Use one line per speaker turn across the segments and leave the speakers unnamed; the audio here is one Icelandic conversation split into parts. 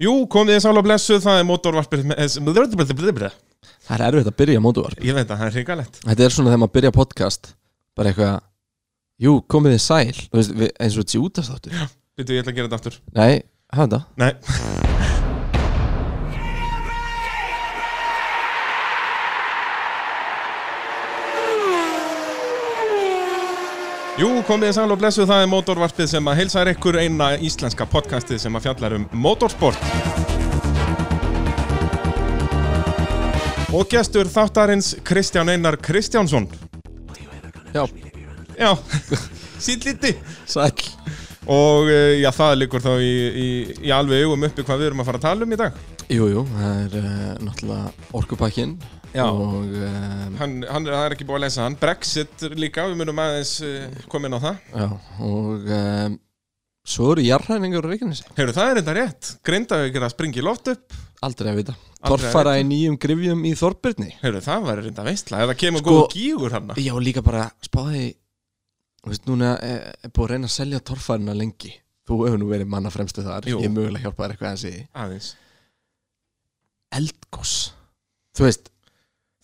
Jú, komið þið sála og blessuð, það er eh, mótorvarpir Ég
Það er erfitt að byrja mótuvarp
veit að það er hringalegt
Þetta er svona þegar maður byrja podcast Bara eitthvað Jú, komið þið sæl Þú veist, við, eins og þetta sé útastáttur
Býtu, ég ætla að gera þetta aftur
Nei, hafa þetta
Nei, Jú, komið þið sæl og blessuð, það er mótorvarpið sem að heilsaðir ykkur eina íslenska podcastið sem að fjallar um motorsport. Og gestur þáttarins Kristján Einar Kristjánsson.
Já,
Já, síðlíti.
sæl
Og eh, já, það liggur þá í, í, í alveg augum uppi hvað við erum að fara að tala um í dag.
Jú, jú, það er uh, náttúrulega orkupakkin
Já.
Og um,
Hann, hann það er ekki búið að lesa hann. Brexit líka, við munum aðeins eh, koma inn á það.
Já, og um, svo eru jarræningur á Reykjanesi
Hefur það er enda rétt. Grindavík er að springa í loft upp.
Aldrei að vita
að
Torfara í nýjum grifjum í Þorbirni
Hefur það var reynda veistla. Ef það kemur
Sko-
góð gígur hann.
Já, líka bara spáði Þú veist, núna er, er búið að reyna að selja torfarina lengi Þú hefur nú verið manna fremstu þar
Jú.
Ég er mögulega hjálpa þér eitthvað að segja
Aðeins.
Eldgós Þú veist,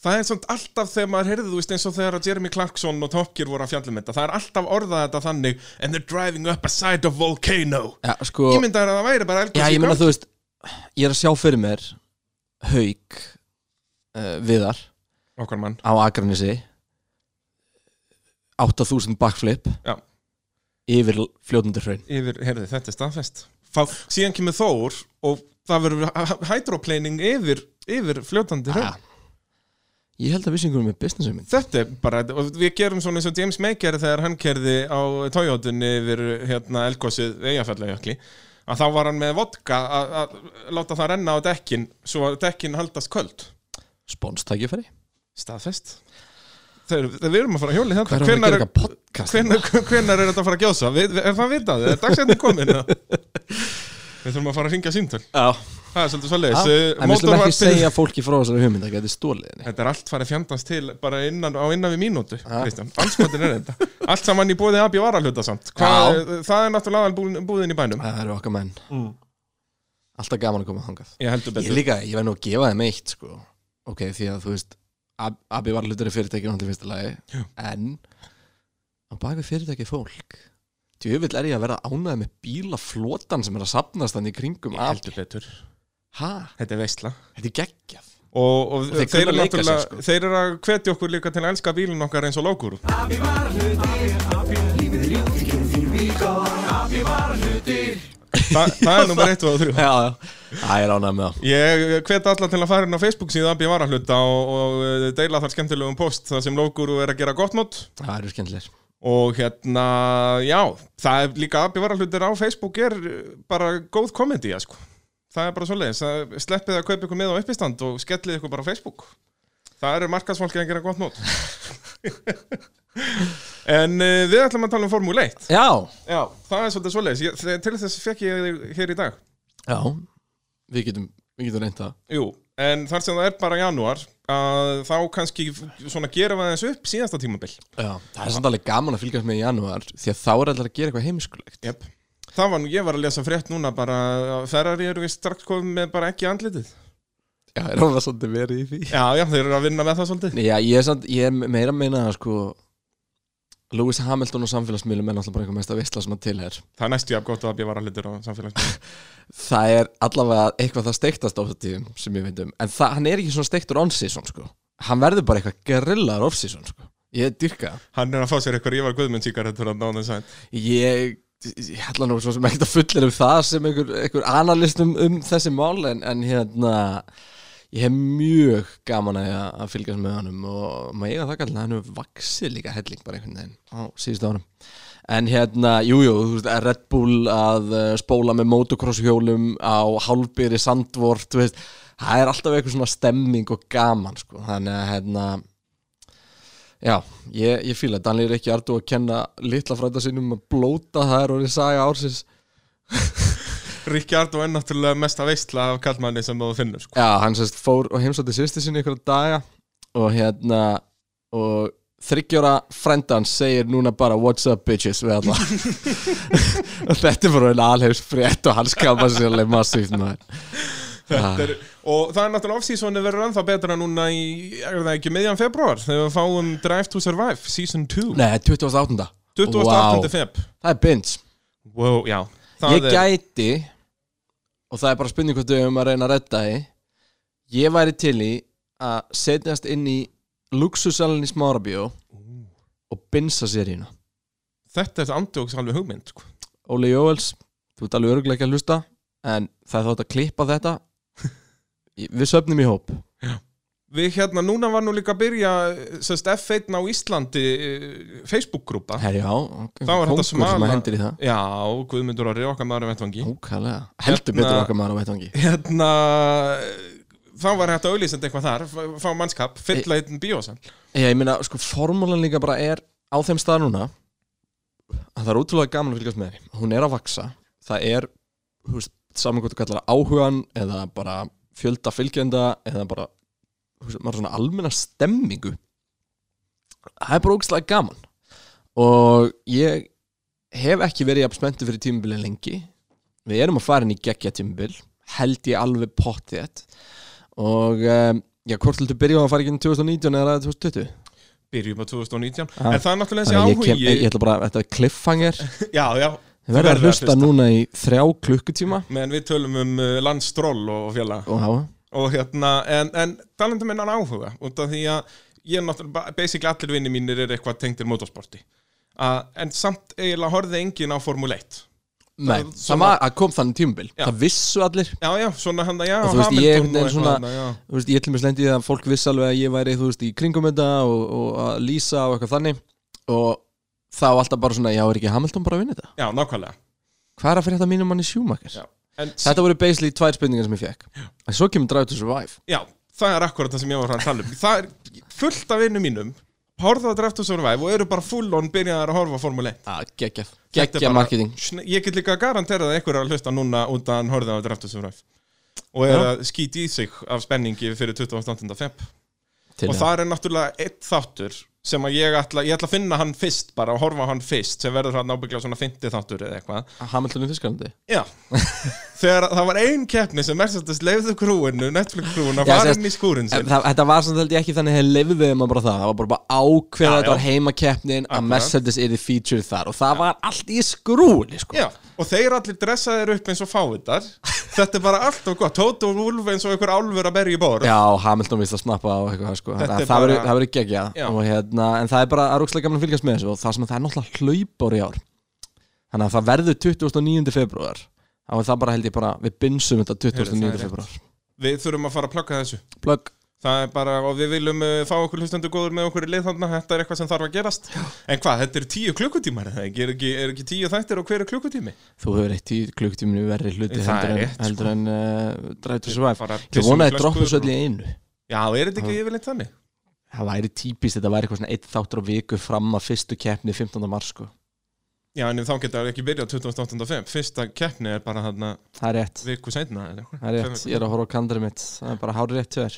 Það er svona alltaf þegar maður heyrði, þú veist, eins og þegar að Jeremy Clarkson og Top Gear voru að fjallum þetta. Það er alltaf orðað þetta þannig and they're driving up a side of volcano.
ja, sko
Ég myndi að það væri bara
Já,
elgjóðs
ég meina, þú veist Ég er að sjá fyrir mér Hauk uh, Viðar
Okkar mann.
á Akranesi 8000 backflip
Já.
Yfir fljótundur hraun
Yfir, heyrði, þetta er staðfest. Fá, síðan kemur Þór og það verður hydroplaning yfir, yfir fljótandi hraun.
Ah. Ég held að við syngurum með business hugmynd
Þetta er bara, og við gerum svona eins og James May gerði þegar hann kerði á Toyotunni yfir hérna elgósið Eyjafjallajökli að þá var hann með vodka að að láta það renna á dekkin svo að dekkin haldast köld
Sponstækifæri
staðfest þegar við erum að fara að hjóli þetta
Hvað er hann að
hvenar,
gera eitthvað podcast?
hvenar, hvenar er þetta að fara að gjósa við, við- er það vitað, er dagsetning komin eða? við þurfum að fara að ringa símtöl
Já
það er svolítið svolítið
En við slum ekki segja fólki frá þessari hugmynd Það gæti stólið henni
Þetta er allt farið fjandast til bara innan, á innan við mínútu,
Ja.
Kristján. Anskotin er þetta. Allt saman í búðið AB varahluta samt. Hva,
Já.
það er náttúrulega aðal búðin í bænum.
Það eru okkar menn
Mm.
Alltaf gaman að koma þangað
Ég heldur
Ég
betur.
líka, ég verð nú að gefa þeim eitt sko. Ok, því að þú veist Ab- Abbi var hlutari fyrirtæki náttúrulega í fyrsta lagi
Jú.
En Á bak við fyrirtæki er fólk Djöfull er ég að vera ánæði með bílaflotan sem er að safnast hann í kringum
Ég
af
heldur betur.
Hæ?
Þetta er veistla.
Þetta er geggjað
Og, og,
þeir
þeir,
kunna
eru
leika sér,
náttúrulega,
sko.
þeir eru að hvetja okkur líka til að elska bílinn okkar eins og lókur. Þa, það er nummer 1 og 3.
Já, já, það er ánæði með það
Ég hvet alla til að fara inn á Facebook síðan AB varahluta og, og eh, deila þar skemmtilegum post þar sem lókur er að gera gott mót.
Það eru skemmtilegir
og hérna, já, það er líka að bevara hlutir á Facebook er uh, bara góð komedi, já, sko það er bara svoleiðis, það- sleppið að kaupa ykkur með á uppistand og skellið ykkur bara á Facebook það eru markaðsfólki að gera gott nót en uh, við ætlum að tala um Formule 1
Já,
já, það er svolítið svoleiðis, ég, þe- til þess fekk ég þig hér í dag,
já, við getum, við getum reynt það
jú en þar sem það er bara janúar að þá kannski svona gera við aðeins upp síðasta tímabil
Já, það er samt alveg gaman að fylgjast með í janúar Því að þá er allir að gera eitthvað heimskulegt
Jep. Það var nú, ég var að lesa frétt núna bara að Ferrari eru við strax komið með bara ekki andlitið.
Já, er alveg svolítið verið í því
Já, já, þeir eru að vinna með það svolítið.
Nei, Já, ég er, samt, ég er meira að meina að sko Lewis Hamilton og samfélagsmiðlum er náttúrulega bara einhver mesta veistla sem að til er
Það er næstu jafn gott að ég var að litur á samfélagsmiðlum.
Það er allavega eitthvað það steiktast á þetta tíðum sem ég veit um En það, hann er ekki svona steiktur on-season sko Hann verður bara eitthvað gerillar off-season sko Ég dyrka það.
Hann er að fá sér eitthvað Ívar Guðmund síkaretur að náðan sæn.
Ég, ég ætla nú svo sem ekkert að fullir um það sem einhver, einhver analistum um þessi mál en, en hérna Ég hef mjög gaman að, að fylgjast með honum og maður eiga það kallan að hann hefur vaksið líka helling bara einhvern veginn á síðustu árum. En hérna, jújú, jú, þú veist, að Red Bull að eh, spóla með motocross hjólum á hálfbyrði sandvort, þú veist, það er alltaf eitthvað svona stemming og gaman, sko, þannig að hérna, já, ég, ég fíla, Daniel er ekki ardu að kenna litla frænda sínum að blóta, það er orðið saga ársins,
Ríkjard og enn náttúrulega mesta veistla af kallmanni sem þú finnur, sko.
Já, hann sérst fór og heimsótti sýsti sinni ykkur daga og hérna og þryggjóra frendans segir núna bara what's up bitches við alla og þetta er bara einn alheims frétt og hann skapa sér alveg massíft maður
Þetta er, og það er náttúrulega off-seasoni verður ennþá betra núna í, er það ekki miðjan februar þegar við fáum Drive to Survive season 2,
Nei, 28.
28.
Vá.
feb
Það er binds
wow, já, það
Ég
er
gæti og það er bara spurning hvað þau um að reyna að redda því ég væri til í að setjast inn í luxusalinn í smárabíó og binsa seríuna
þetta er andjóks alveg hugmynd sko.
Óli Jóels, þú ert alveg örgulega ekki að hlusta en það er þátt að klippa þetta Ég- við söfnum í hóp
við hérna, núna var nú líka að byrja sest, F1 á Íslandi eh, Facebook-grúpa
Herjá,
Þá er þetta smala-
sem að hendir í það
já, og Guðmundur Orri okkar maður um vettvangi
Ókælega, heldur betur
Hérna-
okkar maður á vettvangi
hérna þá var hægt að auðlýsandi eitthvað þar fá- fá mannskap, fylla einn bíósal
Já, ég meina, sko, formúlan líka bara er á þeim stað núna að það er ótrúlega gaman að fylgjast með henni. Hún er að vaksa, það er þú veist, saman hvort þú kallar það áhugan eða bara fjölda fylgjenda eða bara, þú veist, maður svona almenna stemmingu það er bara ógeðslega gaman og ég hef ekki verið jafn spenntu fyrir tímubili lengi við erum að fara inn í geggja tímubil held ég alveg pottið og um, já, hvort viltu byrja á að fara ekki inn 2019 eða 2020
byrjum á 2019,
Ah.
en það er náttúrulega þessi
Þannig að ég,
áhugi
kem, ég, ég ætla bara, þetta er cliffhanger
já, já,
Við verðum að
verður að
hlusta
hlusta.
núna í þrjá klukkutíma
meðan við tölum um uh, landstról og fjöla
Og hafa
og hérna, en, en talandum enn áhuga, út af því að ég er náttúrulega, ba- basically allir vinni mínir er eitthvað tengdir motorsporti uh, en samt eiginlega horfði engin á Formule 1
Nei,
Það-
það var að kom þannig tímubil
Já.
Það vissu allir
já, já, svona hann að já,
Og þú veist, ég einhvern
og
veginn
eitthvað
svona-
þarna, já.
Þú veist, ég ætlum að slendi því að fólk vissi alveg að ég væri Þú veist, í kringum þetta og, og að lýsa og eitthvað þannig Og þá alltaf bara svona Já, er ekki Hamilton bara að vinna þetta?
já, nákvæmlega
Hvað er að fyrir þetta mínum manni Schumacher?
Já. en,
Þetta voru basically tvær spurningar sem ég fekk En svo kemur Drive to Survive
já, það er akkurat það sem ég var að tala um það er fullt af vinnu mínum horfðu að dreftu survive og eru bara full on byrjaðar að horfa á Formule 1
ah, Gekkjaf
Þetta er
Gekkja
bara-
marketing
Sn- ég get líka að garantera að einhver er að hlusta núna út að hann horfði á dreftu survive og er
Já.
að skýti í sig af spenningi fyrir 28. feb
til hérna.
og
það.
það er náttúrulega eitt þáttur sem að ég ætla, ég ætla að finna hann fyrst bara og horfa á hann fyrst sem verður hann ábygglega svona 50 þáttur eða eitthvað
Hamilton í Þískalandi
Já, þegar það var ein keppni sem Mercedes leiði krúinu, Netflix krúinu að
Já,
fara
sérst-
inn í skúrin
En
sinn
það, þetta var samt held ég ekki þannig að leiði þeim að bara það það var bara, bara ákveða
Já,
að þetta
já.
var heimakeppnin að
Akkurat.
Mercedes er í feature þar og það var allt í skrúli sko.
Já, og þeir allir dressaðir upp eins og fávitar Þetta er bara allt og gott Tóta og Úlf eins og einhver álfur að berja í bor
Já, Hamilton vist að snappa á eitthvað sko.
Þetta er
Þannig að það
bara-
verður- það verður gegja
Já.
og, hérna, en það er bara að rúkslega gaman að fylgjast með þessu og það sem að það er náttúrulega hlaupár í ár þannig að það verður 29. februar þá er það bara held ég bara við binsum þetta 29.
Heyrðu, það er
februar
Við þurfum að fara að plugga þessu
Plögg,
Það er bara, og við viljum uh, fá okkur hlustendur góður með okkur í lið þarna, þetta er eitthvað sem þarf að gerast En hvað, þetta eru tíu klukkutímar, er það ekki, er ekki, er ekki tíu þættir og hver er klukkutími?
þú hefur eitt í klukktíminu verri hluti
Það er
heldur en,
rétt, sko.
heldur en uh, Drive to Survive
Bara
Ég
pissum í
vonaði að
flöskur
droppa svo
og-
öll í einu
Já, er þetta ekki yfirleitt þannig?
það væri típist, þetta væri eitthvað svona eitt þáttur á viku fram að fyrstu keppni 15. mars sko.
Já, en þá geta það ekki byrjað 2085 Fyrsta keppni er bara þarna
það er rétt,
viku seinna eða eitthvað.
það er rétt ég er að horfa á kandari mitt, það er bara hárið rétt til þér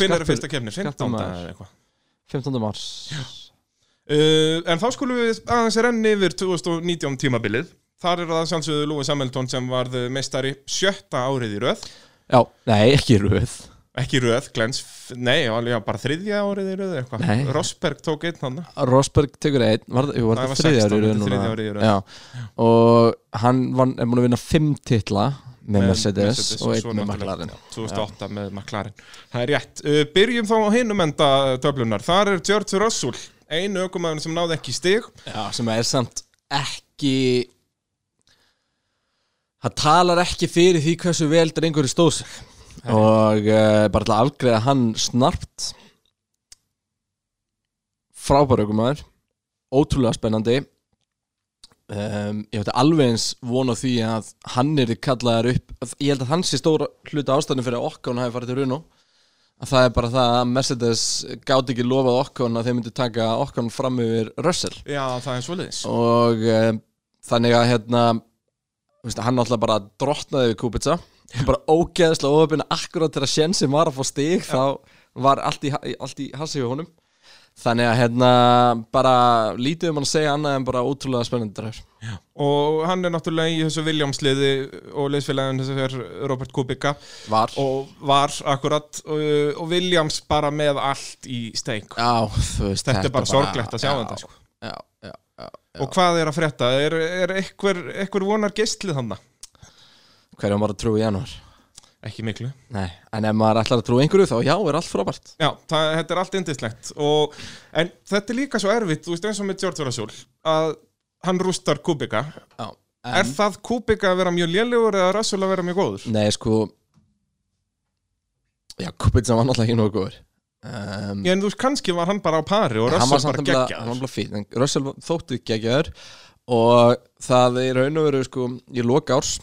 Hvenær er fyrsta keppni? 15.
skattur maður.
eða eitthvað
15. mars
uh, En þá skulum við aðeins renni yfir 2019 tímabilið Þar er það sannsögðu Lúi Samhjöldón sem varð meistari sjötta árið í röð
já, nei, ekki röð
Ekki röð, glens, nei, alveg já, bara þriðja árið í röð eða
Nei.
eitthvað Rosberg tók einn hann
Rosberg tekur einn, var, jú, var
Það var
það þriðja
16,
árið
þetta er þriðja árið í röð.
já, og hann vann, er múin að vinna fimm titla með
með
Mercedes, og
svo
einn með
náttúrulega,
McLaren
já, 2008 með McLaren Það er rétt, uh, byrjum þá á hinum enda töflunar, þar er George Russell einu ökumæðun sem náði ekki stig
Já, sem er samt ekki það talar ekki fyrir því hversu vel drengur stóð sig og uh, bara til að afgreða hann snart frábæra aukumæður ótrúlega spennandi um, ég hætti alveg eins von á því að hann er kallaðar upp ég held að hann sé stóra hluta ástæðin fyrir að okkon hafi farið til Runo að það er bara það að Mercedes gáti ekki lofað okkon að þeir myndi taka okkon fram yfir Russell
Já, það er svoleiðis
og uh, þannig að hérna þú veist, hann náttúrulega bara drottnaði við Kubica bara ógeðslega ofabinn akkurat til að sjensin var að fá stig þá var allt í, allt í hassi við honum Þannig að hérna bara lítið um hann að segja annað en bara ótrúlega spennandi dræfur.
og hann er náttúrulega í þessu Williamsliði og leysfélagin þessu er Robert Kubica
Var.
og var akkurat uh, og, og Williams bara með allt í steik
já, þú veist.
þetta er bara sorglegt að sjá
já,
þetta sko.
Já, já, já.
og hvað er að frétta, er, er einhver, einhver vonar geistlið hann
Hverjum var að trú í janúar?
ekki miklu
Nei, en ef maður ætlar að trú einhverju þá já, er allt frábært.
Já, það, þetta er allt indislegt og, En þetta er líka svo erfitt, þú veist eins og með George Rasúl að hann rústar Kubika
Já.
Er það Kubika að vera mjög lélegur eða Rasúl að vera mjög góður?
Nei, sko Já, Kubica var náttúrulega ekki nógu góður um,
Já, en þú veist, kannski var hann bara á pari og
Hann
Rasúl
var samt
bara
nefnilega- hann var
geggjaður
nefnilega fín en Russell var- þótti geggjaður og það er raun og veru sko í loka árs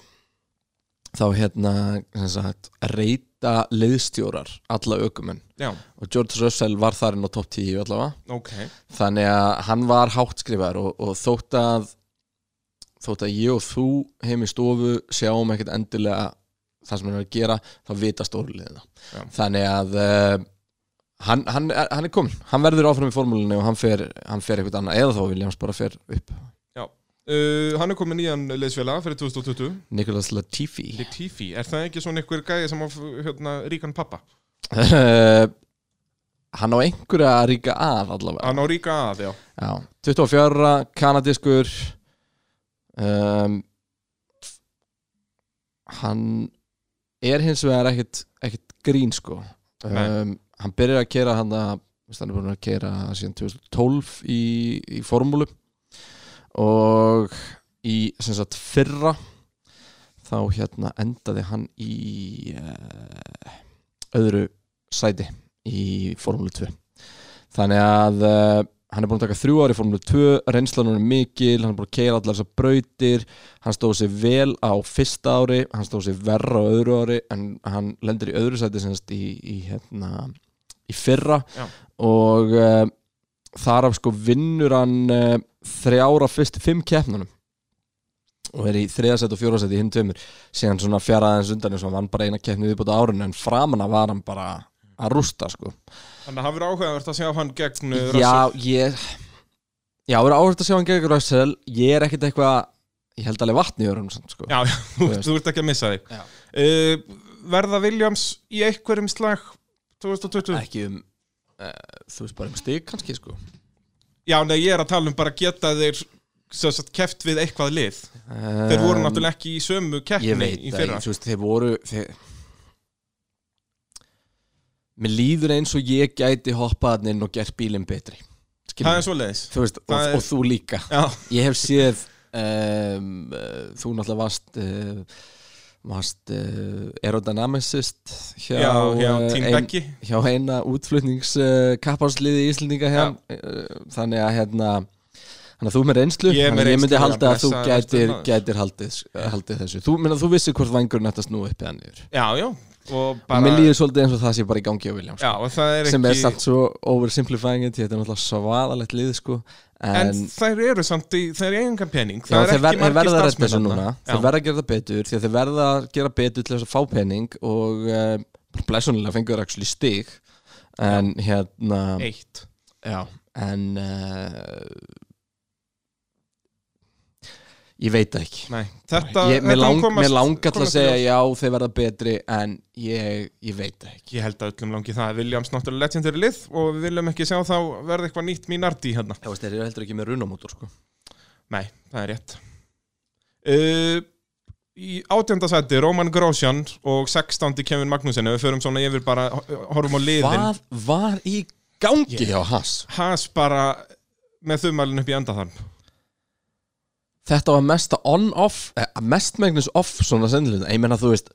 þá hérna sem sagt, reyta leiðstjórar alla ökumenn
Já,
og George Russell var þarinn á topp 10 allavega
ok
þannig að hann var háttskrifaður og, og þótt að þótt að ég og þú heim í stofu sjáum ekkert endilega það sem hann er að gera, þá vita stórliðina
Já.
þannig að uh, hann, hann, er- hann er komin, hann verður áfram í formúlunni og hann fer, hann fer eitthvað annað eða þá Williams bara fer upp
uh, Hann er komin í hann leysfélaga fyrir 2020
Nicholas Latifi
Latifi, er það ekki svona einhver gæði sem á hérna, ríkan pappa?
uh, hann á einhverja að ríka að allavega
Hann á ríka að, já
Já, 24 kanadískur um, Hann er hins vegar ekkit, ekkit grín sko um,
Nei.
Hann byrjar að kera hann að hann er búin að kera síðan 2012 í, í formúlu og í sem sagt fyrra þá hérna endaði hann í uh, öðru sæti í formúlu 2 þannig að uh, hann er búin að taka þrjú ári í Formule 2, reynslan hún er mikil hann er búin að keira allar þessar brautir hann stóð sér vel á fyrsta ári hann stóð sér verra á öðru ári en hann lendir í öðru sæti semst í, í, hérna, í fyrra
Já.
og uh, þar af sko vinnur hann uh, þrjára fyrst fimm keppnunum og er í þriðasæti og fjórasæti í hinn tveimur síðan svona fjaraði hans undan eins og hann vann bara eina keppni viðbúta árun en framanna var hann bara að rústa sko
Þannig að hafa verið áhugaðvert að sjá hann gegn uh,
Já,
Russell.
ég Já, það er áhört að sjá hann gegn Russell Ég er ekkert eitthvað Ég held alveg vatni í örunum samt sko
Já, já, þú,
Þú veist.
þú ert ekki að missa þig
Já.
uh, Verða Williams í einhverjum slag 2020?
Ekki um uh, Þú veist bara um stig kannski sko
Já, nei, ég er að tala um bara geta þeir sem sagt, keft við eitthvað lið Þeir voru náttúrulega ekki í sömu keppni
Um, Eh, Ég veit
í
það,
fyrra
ég- þú veist, þeir voru þeir... Mér líður eins og ég gæti hoppað hann inn og gert bílinn betri Skilur
Það er
mig.
svoleiðis
Þú veist, og,
það er-
og þú líka
Já,
Ég hef séð um, uh, Þú náttúrulega varst uh, varst uh, aerodynamicist hjá,
já, já,
uh,
Team
ein-
Becky
hjá eina útflutningskapparsliði í Íslendinga hér, uh, þannig að hérna Þannig að þú er með reynslu,
Ég er með
þannig að ég myndi
reynslu,
halda
já,
að þú
blessaður
gætir,
vertu maður.
gætir haldið, haldið þessu. Þú, minna, þú vissir hvort vangurinn ætti að snúa upp eða niður.
Já, já, og
Bara...
bara
Mér líður svolítið eins og það sé bara í gangi á Williams,
Já, og það er ekki
sko, sem er samt svo oversimplifying it, þetta er náttúrulega svaðalegt lið, sko.
En
En,
þær eru samt í, það er eigingan pening
já,
Það er
þeir, ver,
ekki
þeir
margir
verða að redda þessu
starfsmenn
núna,
þarna.
þeir verða að gera það betur, því að þeir verða að gera betur til þess að fá penning og uh, blessunilega fengur þeir actually stig, en hérna...
Já, Eitt
Já, en uh, ég veit það ekki
Nei, þetta
ég,
þetta
Mér lang,
komast-
mér langar til að
komast
segja
ljós.
já, þeir verða betri en ég, ég veit það ekki
Ég held að öllum langi það Williams náttúrulega legendary lið og við viljum ekki sjá þá verða eitthvað nýtt mínardi hérna
Já, veist, þeir eru heldur ekki með runamótor sko.
Nei, það er rétt uh, Í átjöndasæti Roman Grosjan og 16. Kevin Magnussen ef við förum svona yfir bara horfum á liðin
Hvað var í gangi
Ég-
hjá Haas?
Has bara með þumalinn upp í enda þar
Þetta var mesta on-off eh, mestmengnis off svona sendilegna ég menna þú veist,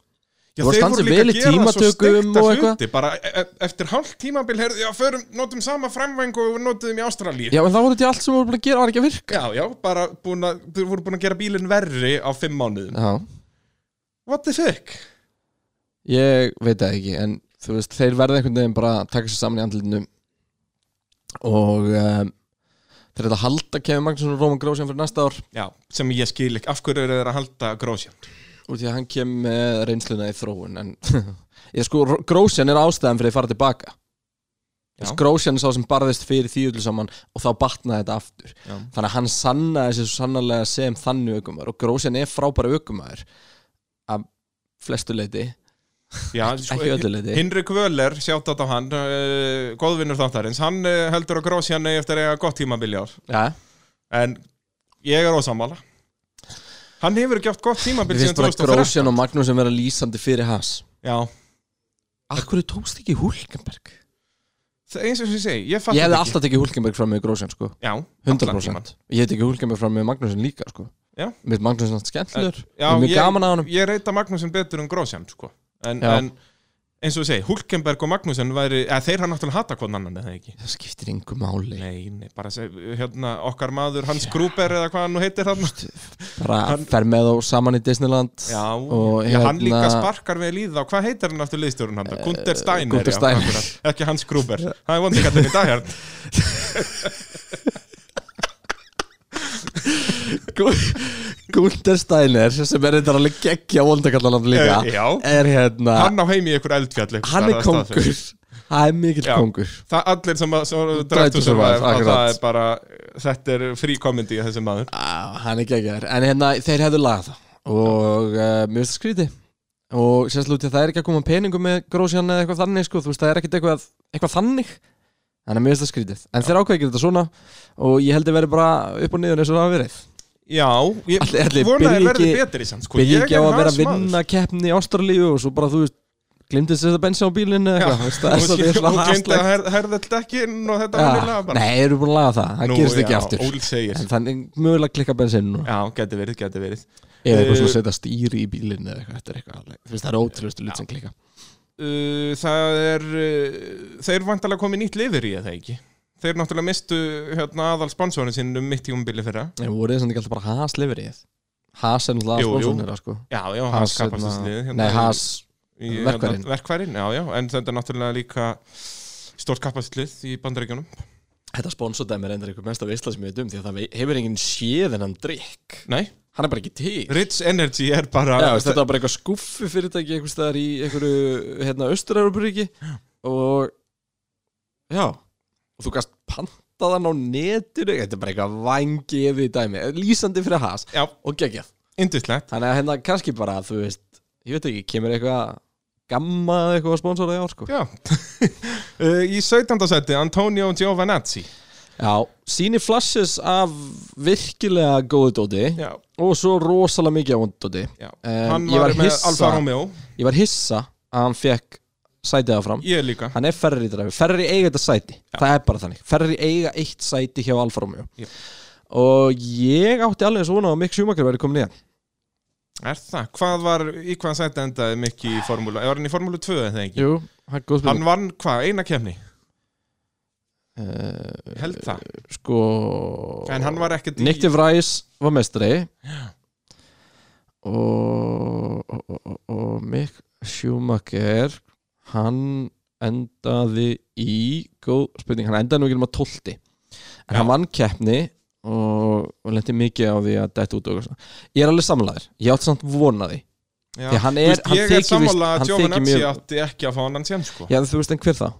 Já,
Þú varst
þeir
ansi
voru líka
vel í
að gera svo
tímatökum
steikta
og eitthvað.
hluti, bara e e- eftir hálft tímabil heyrðu, já, förum, notum sama framvæng og notum í Ástralíu
já en það voru til allt sem voru búin að gera var ekki að virka
já, já, bara búin að, þeir voru búin að gera bílinn verri á fimm mánuðum
Já,
What the fuck?
ég veit það ekki en þú veist, þeir verða einhvern veginn bara að taka sér saman í andlinu og um, þeir ætla að halda Kevin Magnússon og Róman Grósjan fyrir næsta ár
Já, sem ég skil ekki, af hverju eru þeir að halda Grosjan?
út í að hann kem með reynsluna í þróun en ég sko, Grósjan er ástæðan fyrir að fara tilbaka
Já.
Skrósjan er sá sem barðist fyrir því öllu saman og þá batnaði þetta aftur
Já.
þannig að hann sannaði sér svo sannarlega sem þannig aukumæður og Grósjan er frábæra aukumæður af flestu leiti
Já, sko,
ekki öllu leiti
Hinrik Völler, sjátt á hann uh, góðvinnur þáttarins, hann uh, heldur að grósjan eigi eftir að eiga gott tímabilja ár
ja.
en ég er ósamála hann hefur ekki átt gott tímabil
Mér finnst
síðan
bara
2013
Grósjan og Magnús sem vera lýsandi fyrir hans
Já,
Akkur tókst ekki Hulkenberg?
það er eins og sem ég segi, ég fatt
Ég hefði alltaf tekið Hulkenberg fram með Grósjan sko
Já, allan
100%
tímann.
Ég hefði ekki Hulkenberg fram með Magnúsin líka sko
Já.
Mér finnst Magnúsin alltaf skemmtlur
Já,
Mjög
ég-
gaman að honum
Ég reyta Magnúsin betur en Grósjan sko. en,
Já.
en eins og ég segi, Hulkenberg og Magnúsin væri, eða þeir hann náttúrulega hata hvort annan eða ekki
Það skiptir yngu máli
Nei, nei, bara seg, hérna, okkar maður Hans Gruber eða hvað hann nú heitir hann
bara
Hann-
fer með þá saman í Disneyland
Já,
Og
já, hann
hérna-
líka sparkar við líða og hvað heitir hann aftur liðstjórun hann? Gunther Steiner,
Gunther
já,
Steiner.
akkurat. ekki Hans Gruber Það er vondi kattin í dag hérna
Gunther Steiner sem er þetta alveg geggja vondakallanand líka
Eh, já.
er hérna hann,
Hann á heimi í ykkur eldfjall einhvers staðar,
er
það staðfest.
kongur hann er mikill
Já.
kongur
Það allir sem að sem að
Drive to
drættu sem að
Survive,
það
akkurat.
er bara Þetta er frí komindi í þessi maður
ah, hann er geggjaður en hérna þeir hefðu lagað það og uh, mér finnst það skríti og sérstaklega það er ekki að koma peningum með grósjan eða eitthvað þannig sko þú veist það er ekkit eitthvað, eitthvað þannig þannig að mér finnst það skrítið en þeir ákveða ekki þetta svona og ég held að vera bara upp og niður eins og það hafa verið
Sko, Já, ég
Ætli- ætli
vona að
byrji
þeir verði
ekki-
betri samt sko.
byrja ekki á
er
að vera
hans
að vinna keppni í Ástralíu og svo bara þú veist glimtist þetta bensin á bílinn eða eitthvað veist, það er
maður
svo við
Og
svona
glemdi að
hastlegt
her- herða alltaf ekki inn og þetta
Ja,
var líka bara
Ah, Nei, eru búin að laga það, það
Nú,
gerist ekki
já,
aftur
Ól segir
en þannig mögulega klikka bensin núna
Já, geti verið, geti verið
eða eitthvað
Eh,
svo að setja stýri í bílinn eða eitthvað, þetta er eitthvað alveg, þú veist, það er ótrúlustu lut sem klikka
Uh, Það er uh, Þeir vantalega komið nýtt lifir í það ekki Þeir náttúrulega mistu hérna, aðal sponsorin sinn um mitt tíumbili fyrra
en voru þið samt ekki alltaf bara Haas lifir í þið Haas er náttúrulega
Jú, jú.
sponsornir það, sko
Já, já, hans
hérna-
kapastastlið
nei, Haas,
í, hérna,
Verkfærin.
verkfærin, já, já, en þetta er náttúrulega líka stórt kapasitlið í bandaríkjunum
þetta sponsordæmi er reyndar eitthvað mesta veistla sem ég veit um því að það vei- hefur enginn séð en hann drikk
Nei,
hann er bara ekki til
Rich Energy er bara
Já, veist, þetta var bara eitthvað skuffi fyrirtæki einhvers staðar í einhverju hérna, Östur-Európuríki og já, og þú gast pantaðan á netinu þetta er bara eitthvað vangiði dæmi lýsandi fyrir has
Já,
og geggjað
indislegt
þannig að hérna kannski bara, þú veist ég veit ekki, kemur eitthvað gamma eða eitthvað að sponsora í ár sko
Já Uh, Í 17. seti, Antonio Giovanazzi
Já, síni flashes af virkilega góðu dóti
Já,
og svo rosalega mikið á vondu dóti
já
En
Hann
Eh, ég
var,
var
með
hissa-
Alfa Romeo
ég var hissa að hann fekk sætið áfram
Ég líka
hann er Ferrari dræfi, Ferrari eiga þetta sæti það er bara þannig, Ferrari eiga eitt sæti hjá Alfa Romeo
Jep.
og ég átti alveg svona að Mick Schumacher verið komin í hann
Er það? Hvað var, í hvaðan seti endaði Mikki í formúlu? Var hann í formúlu 2 eða ekki?
Jú, hann er góð
Hann
spurning
vann hvað? Eina kemni?
uh,
Held það
sko
En hann var ekkert í
Nikti Vræs var mestri og, og, og, og Mick Schumacher hann endaði í góð spurning, hann endaði nú ekki um að 12 en
Já.
hann vann keppni og, og lendi mikið á því að dætt út og eitthvað svona. ég er alveg samlaður, ég átti samt vona því
Já.
því að hann
Þú
er-
veist,
hann
Ég
þykir
er
víst-
sammála
hann
að
þykir
Giovanazzi
mjög-
átti ekki að fá hann hans sko
já þú veist en hver það,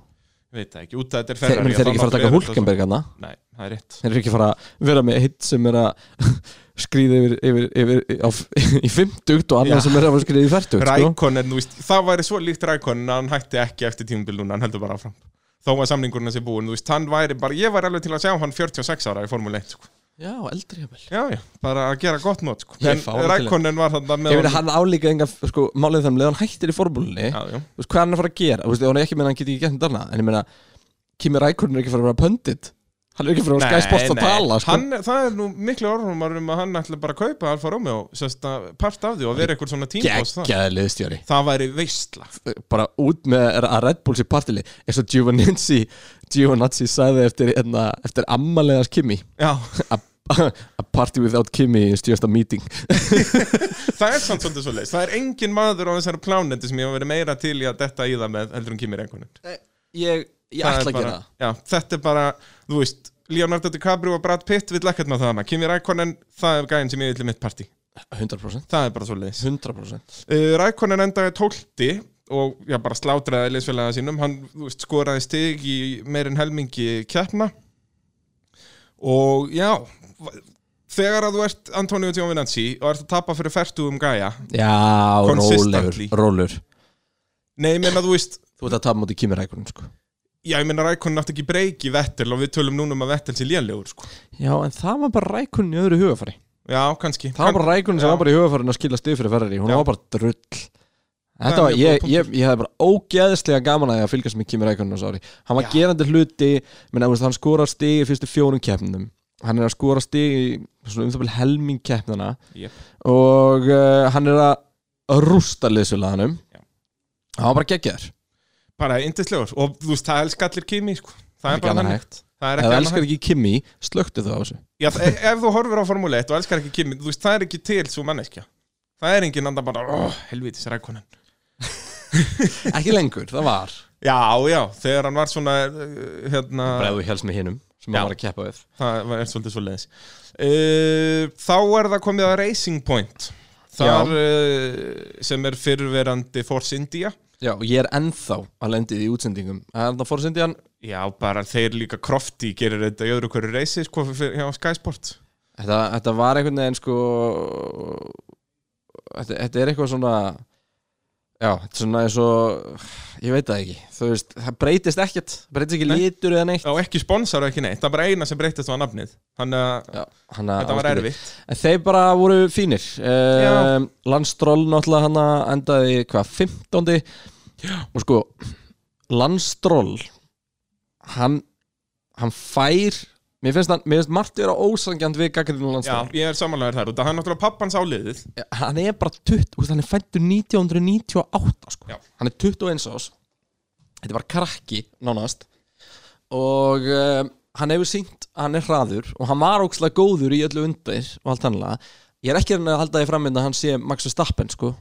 Veit það ekki, út að þetta er sko.
þeir,
Ferrari
menn, þeir eru ekki fara að taka Hulkenberg hana
Nei, það er rétt
þeir eru ekki fara að vera með hitt sem er að skrýða yfir, yfir, yfir á, í fymtugt og annað
Já.
sem er að skrýða í færtugt sko.
Rækon, en þú veist, það væri svo líkt Rækon að hann hætti ekki eftir tímubil núna, hann heldur bara áfram þó að samningurinn sé búin, þú veist, hann væri bara ég væri alveg til að sjá hann 46 ára í Formule 1 sko.
já, eldri jafnvel
já, já, bara að gera gott nót sko.
Ég
en
fá hann til
Rækonin var þarna
ég
með
veit að hann álíka enga, sko, málið þeim leðan hann hættir í formúlunni,
já, já.
þú veist hvað er hann að fara að gera þú veist, hann er ekki meina að hann geti ekki gert þarna en ég meina, Kimi Rækurinn er ekki að fara að vera pöndit hann er ekki að fara að vera skæsport að tala sko.
hann, það er nú miklu orðumar um að hann ætli bara að kaupa Alfa Romeo sérst að part af því og vera eitthvað svona tímpos það.
geggjaði liðstjóri
það væri veistla
bara út með að Red Bull sér partili eins og Giovanazzi Giovanazzi sagði eftir, hérna, eftir ammalegas Kimi
já,
a, a party without Kimi is just a meeting
það er samt svolítið svo leist það er engin maður á þessari plánendi sem ég hef verið meira til í að detta í það með heldur en Kimi Rækonin
ég, ég
Það
ætla
er
að gera
bara- Já, þetta er bara, þú veist Leonardo DiCaprio og Brad Pitt vill ekkert með það hana Kimi Rækonen, það er gæðin sem ég vill í mitt partí
það 100%
Það er bara svo leiðis
100%
uh, Rækonen Eh, endaði tólti og já, bara slátraði liðsfélaga sínum hann þú veist, skoraði stig í meirinn helmingi keppna og já va- þegar að þú ert Antonio Giovinazzi og ert að tapa fyrir um fertugum gæja
Já, rólur,
Consistently.
rólur
nei, ég meina þú veist
Þú ert að tapa mútið kýmirækunum sko
já, ég meina Rækonin átti ekki breyki Vettel og við tölum núna um að Vettel sé lélegur sko.
Já, en það var bara rækunin í öðru hugafari
já, kannski
Það var bara rækunin sem
Já.
var bara í hugafarinn að skila stið fyrir ferri Hún
Já.
var bara drull
er
Þetta var,
mjög
ég,
góður
ég, ég hefði bara ógeðslega gaman að ég að fylgjast með Kimi Rækonin á sári Hann var gerandi hluti, menn að veist, hann skora stig í fyrstu fjórum keppnum Hann er að skora stig í svona um það bil helming keppnana
Jep.
Og uh, hann er að rústa liðsulaganum
Já.
Hann var bara geggjaður
bara yndislegur og þú veist, það elskar allir Kimi sko. það er
Ekki
bara
annað
þannig
hægt.
það er
Ef
ekki
þú
annað
elskar ekki Kimi, slöktu þú á þessu
Já, e- ef þú horfir á Formule 1 og elskar ekki Kimi, þú veist, það er ekki til svo manneskja. Það er engin andan bara, oh, helvitis rækonin.
Ekki lengur, það var
Já, já, þegar hann var svona, eh, hérna,
Bræðu helst með hinnum sem
Já.
hann var að keppa við
það var- er svolítið svo leiðis. þá er það komið að Racing Point, þar uh, sem er fyrrverandi Force India.
Já, og ég er ennþá að lendi í útsendingum Þannig að fórsindi hann
Já, bara þeir líka Crofty gerir þetta í öðru hverju reysi, sko, fyrir, hjá Sky Sport.
þetta, þetta var einhvern veginn sko þetta, þetta er eitthvað svona Já, þetta er svona eins og Ég veit það ekki Þú veist, það breytist ekkert Breytist ekki
Nei.
litur eða neitt
Já, ekki sponsor og ekki neitt, það er bara eina sem breytist á nafnið. Þannig að
Já, hana,
þetta var erfitt.
En þeir bara voru fínir
Já.
um, Landstról náttúrulega hann endaði hvað, 15. og sko Landstról hann, hann fær mér finnst, hann, mér finnst margt vera ósangjant við gaggrinu
Já,
Landstról
ég er samanlegaður þar og það er náttúrulega pappans áliðið
hann er bara 20, þú veist, hann er fættur 1998 sko.
Já.
hann er 21 ás þetta er bara krakki nánast og um, hann hefur syngt hann er hraður og hann var ókslega góður í öllu undir og allt hannlega ég er ekki að reyna að halda því framvinda að hann sé Max Verstappen sko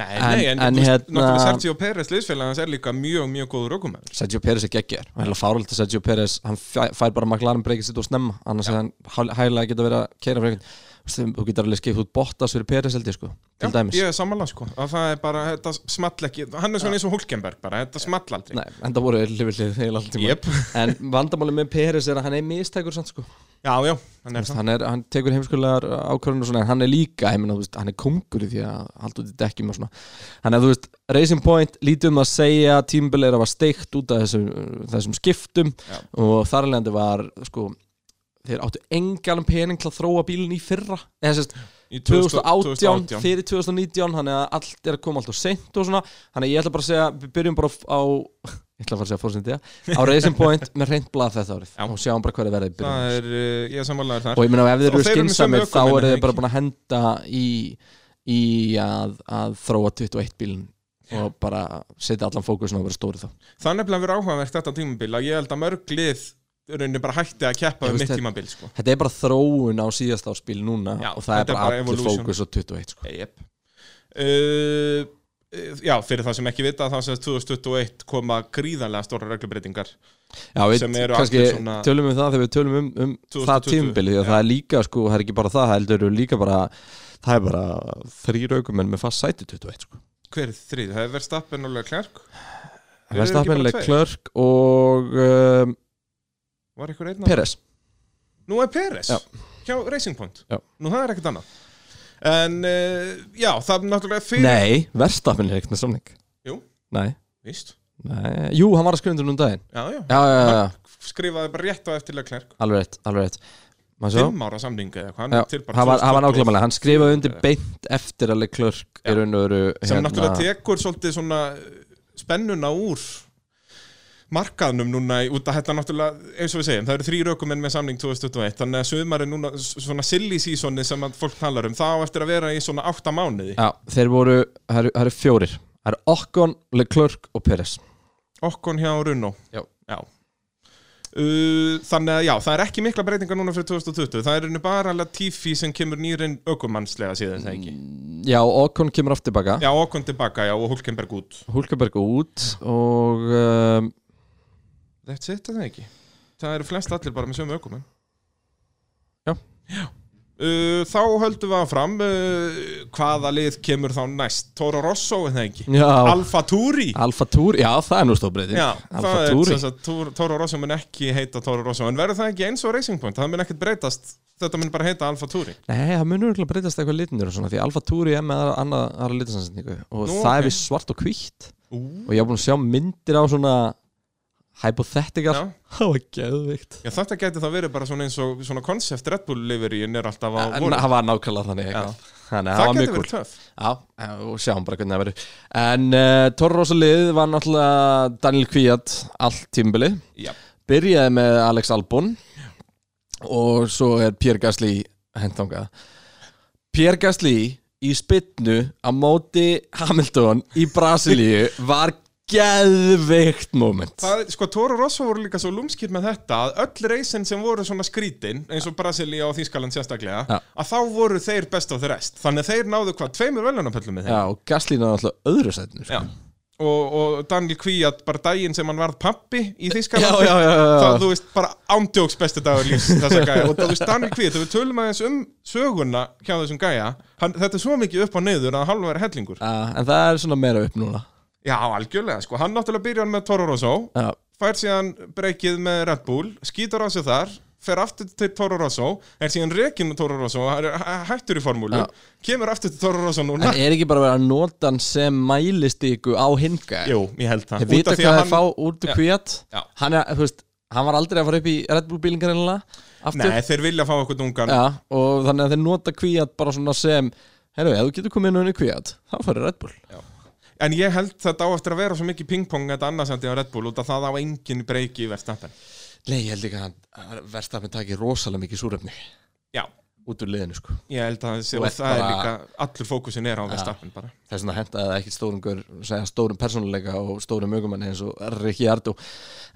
Nei,
En-
nei, en,
en
en veist,
hérna-
náttúrulega Sergio Pérez liðsfélagans er líka mjög, mjög góður okkumæður.
Sergio Pérez er geggjar og hérna fáröld að Sergio Pérez hann fæ- fær bara McLaren breykið sitt og snemma annars hefði hann hæ- hæglega geta verið að keira fyrir einhvern Þú veist, þú getur alveg skipt út Bottas fyrir Pérez held ég sko til dæmis
Ég er samanlega sko, að það er bara, þetta small ekki, hann er svona eins og Hulkenberg bara, þetta small aldrei.
Nei, en það voru hlifillið heil alltaf tíma
Jep.
En vandamáli með Peres er að hann er mistækur samt sko
Já, já, hann er það.
hann, er, hann tekur heimskulegar ákvörðun og svona En hann er líka, ég meina, þú veist, hann er kongur í því að halda út í dekkjum og svona Þannig að þú veist, Racing Point, lítið um að segja Tímbil er að var steikt út af þessum, þessum skiptum
Já.
Og þar alvegandi var, sko Þeir áttu engan pening til að þróa bílinn í fyrra Eða sérst,
Í
2018,
2018.
fyrir 2019 þannig að allt er að koma alltaf seint og svona þannig að ég ætla bara að segja, við byrjum bara á ég ætla að fara að segja fórsendja á Racing Point með reynd blað þetta árið
Já.
og sjáum bara hverja verði í byrjum
Það er, eh, ég er samanlegaður
og
þar.
ég meina
Og
ef þeir eru
þeir eru með
skinsamir
sömu
þá
ökumenn,
eru
eða
þeir bara
ekki?
búin að henda í, í að, að þróa 21 bílinn og bara setja allan fókusin á að vera stóri þá
Það er nefnilega verið áhugavert þetta tímabil að ég held að mörg lið rauninni bara hætti að keppa
Ég
um
veist
mitt
þetta-
tímabil sko.
þetta er bara þróun á síðast áspil núna
Já,
og það
þetta er
er bara
bara
allir
evolution.
fókus á 21 sko.
Jep. Uh, eh, já, fyrir það sem ekki vita, þá sem 2021 koma gríðanlega stóra reglubreitingar.
Já, við
sem eru
kannski
allir svona-
tölum við það þegar við tölum um, um
2020,
það tímbilið því
já.
að það er líka, sko, það er ekki bara það heldur eru líka bara, það er bara þrýr aukumenn með fast sæti 21 sko.
Hver er þrið? Það er verið stappin og klærk? Eru þeir ekki bara
Verstafennileg
tveir?
Klörk og um,
Var ykkur einn að
Peres
Nú er Peres
Já.
hjá Racing Point
Já.
Nú það er ekkert annað En uh, já, það er náttúrulega fyrir
Nei, verstafennileg með samning
Jú.
Nei,
Víst,
nei, jú, hann var að skrifundur um daginn
já, já,
Já, já, já, já,
skrifaði bara rétt á eftirlega klærk
alveg rétt, alveg rétt Maður sjá
Fimm ára samninga eða hvað, hann
Já,
er til bara
hann var, hann var
2020.
nákvæmlega, hann skrifaði undir
Já.
beint eftir að Leclerc
Já.
í raun og veru hérna-
Sem náttúrulega tekur svolítið svona eh, spennuna úr markaðnum núna í- út að þetta náttúrulega, eins og við segjum, það eru þrýr ökumenn með samning 2021, þannig að sömari núna s- svona silly seasoni sem að fólk talar um það á eftir að vera í svona átta mánuði
Já, þeir voru, það eru- það eru fjórir Það eru Okkon, Leclerc og Peres
Okkon hjá Runo
Já.
Uh, þannig að já, það er ekki mikla breytingar núna fyrir 2020 Það er henni bara Latifi sem kemur nýrin aukumannslega síðan það
Mm.
ekki
Já, Okkon kemur aftur baka
Já, Okkon tilbaka, já, og Hulkenberg út
Hulkeberg út og um,
That's it, er það ekki Það eru flest allir bara með sömu aukumann
Já.
Uh, þá höldum við að fram uh, hvaða lið kemur þá næst Toro Rosso en það ekki
Já.
Alfa Turi
Alfa Túri, já það er nú stóbreyting
Já,
Alfa
það er
Túri
sem sagt, Tor- Toro Rosso mun ekki heita Toro Rosso en verður það ekki eins og Racing Point, það mun ekkert breytast þetta mun bara heita Alfa Turi
Nei, það munur ekki breytast eitthvað litnir og svona því Alfa Túri er með aðra, annað, aðra litinsansendingu og
Nú, ok.
það er við svart og hvítt
Já,
og ég er búin að sjá myndir á svona hypothetical Það var geðvikt
já, þetta gæti það verið bara svona eins og svona konsept Red Bull liveríin er alltaf á
En
voru
það var nákvæmlega þannig
Já.
eitthvað. Þannig að það
Það
var mjög
gæti
kúl
verið töff
Já, og sjáum bara hvernig það verður En uh, Toro Rosa lið var náttúrulega Daniel Kvíat allt tímbili
Já,
Byrjaði með Alex Albon Og svo er Pierre Gasly hendanga Pierre Gasly í spytnu á móti Hamilton í Brasilíu var geðveikt moment
Það, sko, Toro Rosso voru líka svo lúmskir með þetta að öll reysin sem voru svona skrítin eins og Brasilia og Þýskaland sérstaklega
Já.
að þá voru þeir best of the rest þannig að þeir náðu hvað, tveimur veljónapöllum með þeim
Já, og Gasly náði alltaf öðru sætinu sko.
Já. og, og Daniel Kvíat bara daginn sem hann varð pappi í
já,
Þýskaland
já, já, já.
það, þú veist, bara ándjóks besti dagur lífs þessa gæja og þú veist, Daniel Kvíat, þegar við tölum aðeins um söguna hjá þessum gæja hann, þetta er svo mikið upp á neyður að halva er hellingur
Já, En það er svona meira upp núna
Já, algjörlega, sko, hann náttúrulega byrjar með Toro Rosso
Já,
fær síðan breykið með Red Bull skýtar á sig þar, fer aftur til Toro Rosso, er síðan rekin með Toro Rosso hann er hæ- hættur í formúlu
Já.
kemur aftur til Toro Rosso núna
En er ekki bara verið að nota hann sem mælistíku á hinga?
Jú, ég held það
Ég veit
Út af
að
því að
hvað
hann-
það fá út
Já.
úr kvíat
Já.
Hann er, þú veist, hann var aldrei að fara upp í Red Bull bílingar einlega Aftur
Nei, þeir vilja fá okkur dungan
Já, og þannig að þeir nota kvíat bara svona sem Herru, ef þú getur komið inn og unni kvíat Þá farið Red Bull
En ég held þetta á eftir að vera svo mikið pingpong þetta annarsendi á Red Bull út af það á engin breyki í verðstappen
Nei, ég held ekki að hann verðst að með taki rosalega mikið súrefni
Já,
Út úr liðinu, sko
ég held að það, sé,
Þú
og
ert
það er
bara-
líka allur fókusin er á verðstappen bara
Þess vegna hentaði það ekki stórum gaur, segja, stórum persónuleika og stórum ögumanni eins og Rikki Ardú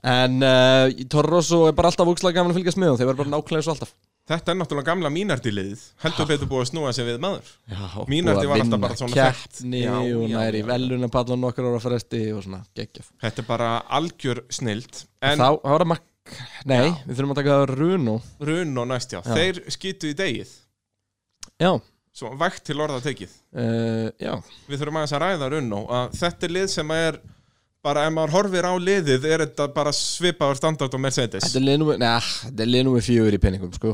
En uh, Toro Rosso er bara alltaf úkslega gaman að fylgjast með og þeir verða bara nákvæmlega eins og alltaf
Þetta er náttúrulega gamla mínardiliðið heldur betur búið að snúa sér við maður
Já,
Mínardi
búið að
var alltaf
vinna
bara svona
keppni
þekkt. Já,
og
já,
næri
já.
velunapallan nokkur ára fresti og svona geggjaf
Þetta er bara algjör snilt
en,
En
þá þá var það makk nei, við þurfum að taka það Runo
Run og næstjá,
Já.
þeir skýtu í degið
já,
Svo vægt til orða tekið
uh, já,
Við þurfum aðeins að ræða Run og að þetta er lið sem er bara ef maður horfir á liðið er þetta bara svipaður standard og Mercedes
þetta er lið númer neða, þetta er lið númer fjögur í penningum sko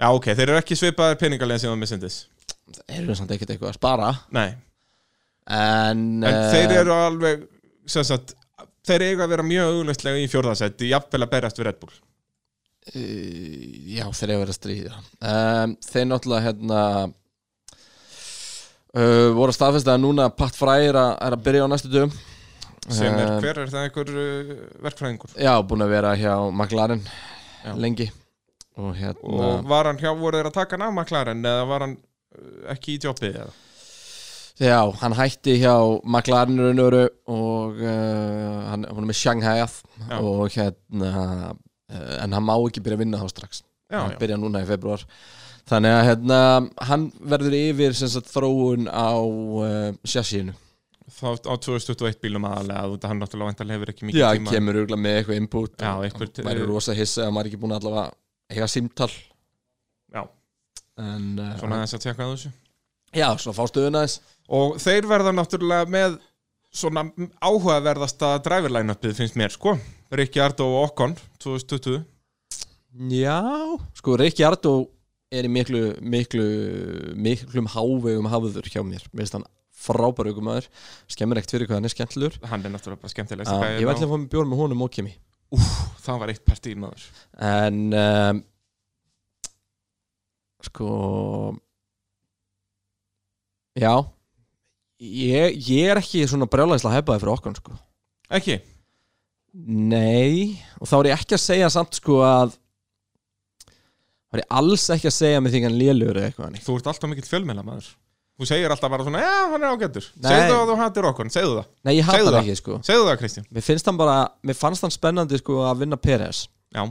Já ok, þeir eru ekki svipaður peningalegin sem á Mercedes
það eru samt ekkert eitthvað að spara
Nei,
en,
en
eh,
þeir eru alveg sem sagt, þeir eiga að vera mjög auglustlega í fjórðasetti, jafnvel að berjast við Red Bull
eh, já, þeir eru að vera að stríða um, þeir náttúrulega hérna uh, voru að staðfesta að núna Pat Fry er að, er að byrja á næstu dögum
sem er,
Eh,
hver er það einhver uh, verkfræðingur
Já, búin að vera hjá McLaren
Já.
lengi og hérna
og var hann hjá, voru þeir að taka hann af McLaren eða var hann uh, ekki í jobbið eða?
Já, hann hætti hjá McLaren raun og veru og uh, hann hann er með Shanghai að
Já.
og hérna uh, en hann má ekki byrja að vinna þá strax
Já,
hann
já.
byrja núna í februar þannig að hérna, hann verður yfir sem sagt, þróun á uh, sjassínu
þá á 2021 bílum aðalega þú veit að hann náttúrulega vantarlega hefur ekki mikið
Já,
tíma
kemur auðvitað með eitthvað input
Já,
og
eitthvað til-
væri rosa hissa að maður er ekki búin að allavega eiga símtal
Já,
en,
svona
uh,
aðeins að tjekka á þessu
Já, svona fá stöðuna þess
og þeir verða náttúrulega með svona áhugaverðasta driverline-upið finnst mér sko Ricciardo og Ocon 2020
Já, sko Rikki Ardó er í miklu, miklu, miklum hávegum hafður hjá mér Mér finnst hann frábæru ykkur maður Skemmir ekkert fyrir hvað hann er skemmtilegur
hann er náttúrulega bara skemmtilegst
uh, Ég ætla að fá mig bjór með honum og kemi
það var eitt partí maður
En um, Sko Já Ég, ég er ekki svona brjálæðislega hefaði fyrir okkur sko.
ekki,
Nei, og þá er ég ekki að segja samt sko að þá er ég alls ekki að segja með því hann lélugur eða eitthvað hannig
þú ert alltaf mikill fjölmela maður þú segir alltaf bara svona, já, hann er ágættur
Nei.
segðu það að þú hattir Ocon, segðu það
Nei, ég hata
Segðu
hann
það.
ekki, sko
segðu það Kristján,
Mér finnst hann bara, mér fannst hann spennandi sko að vinna Peres
já,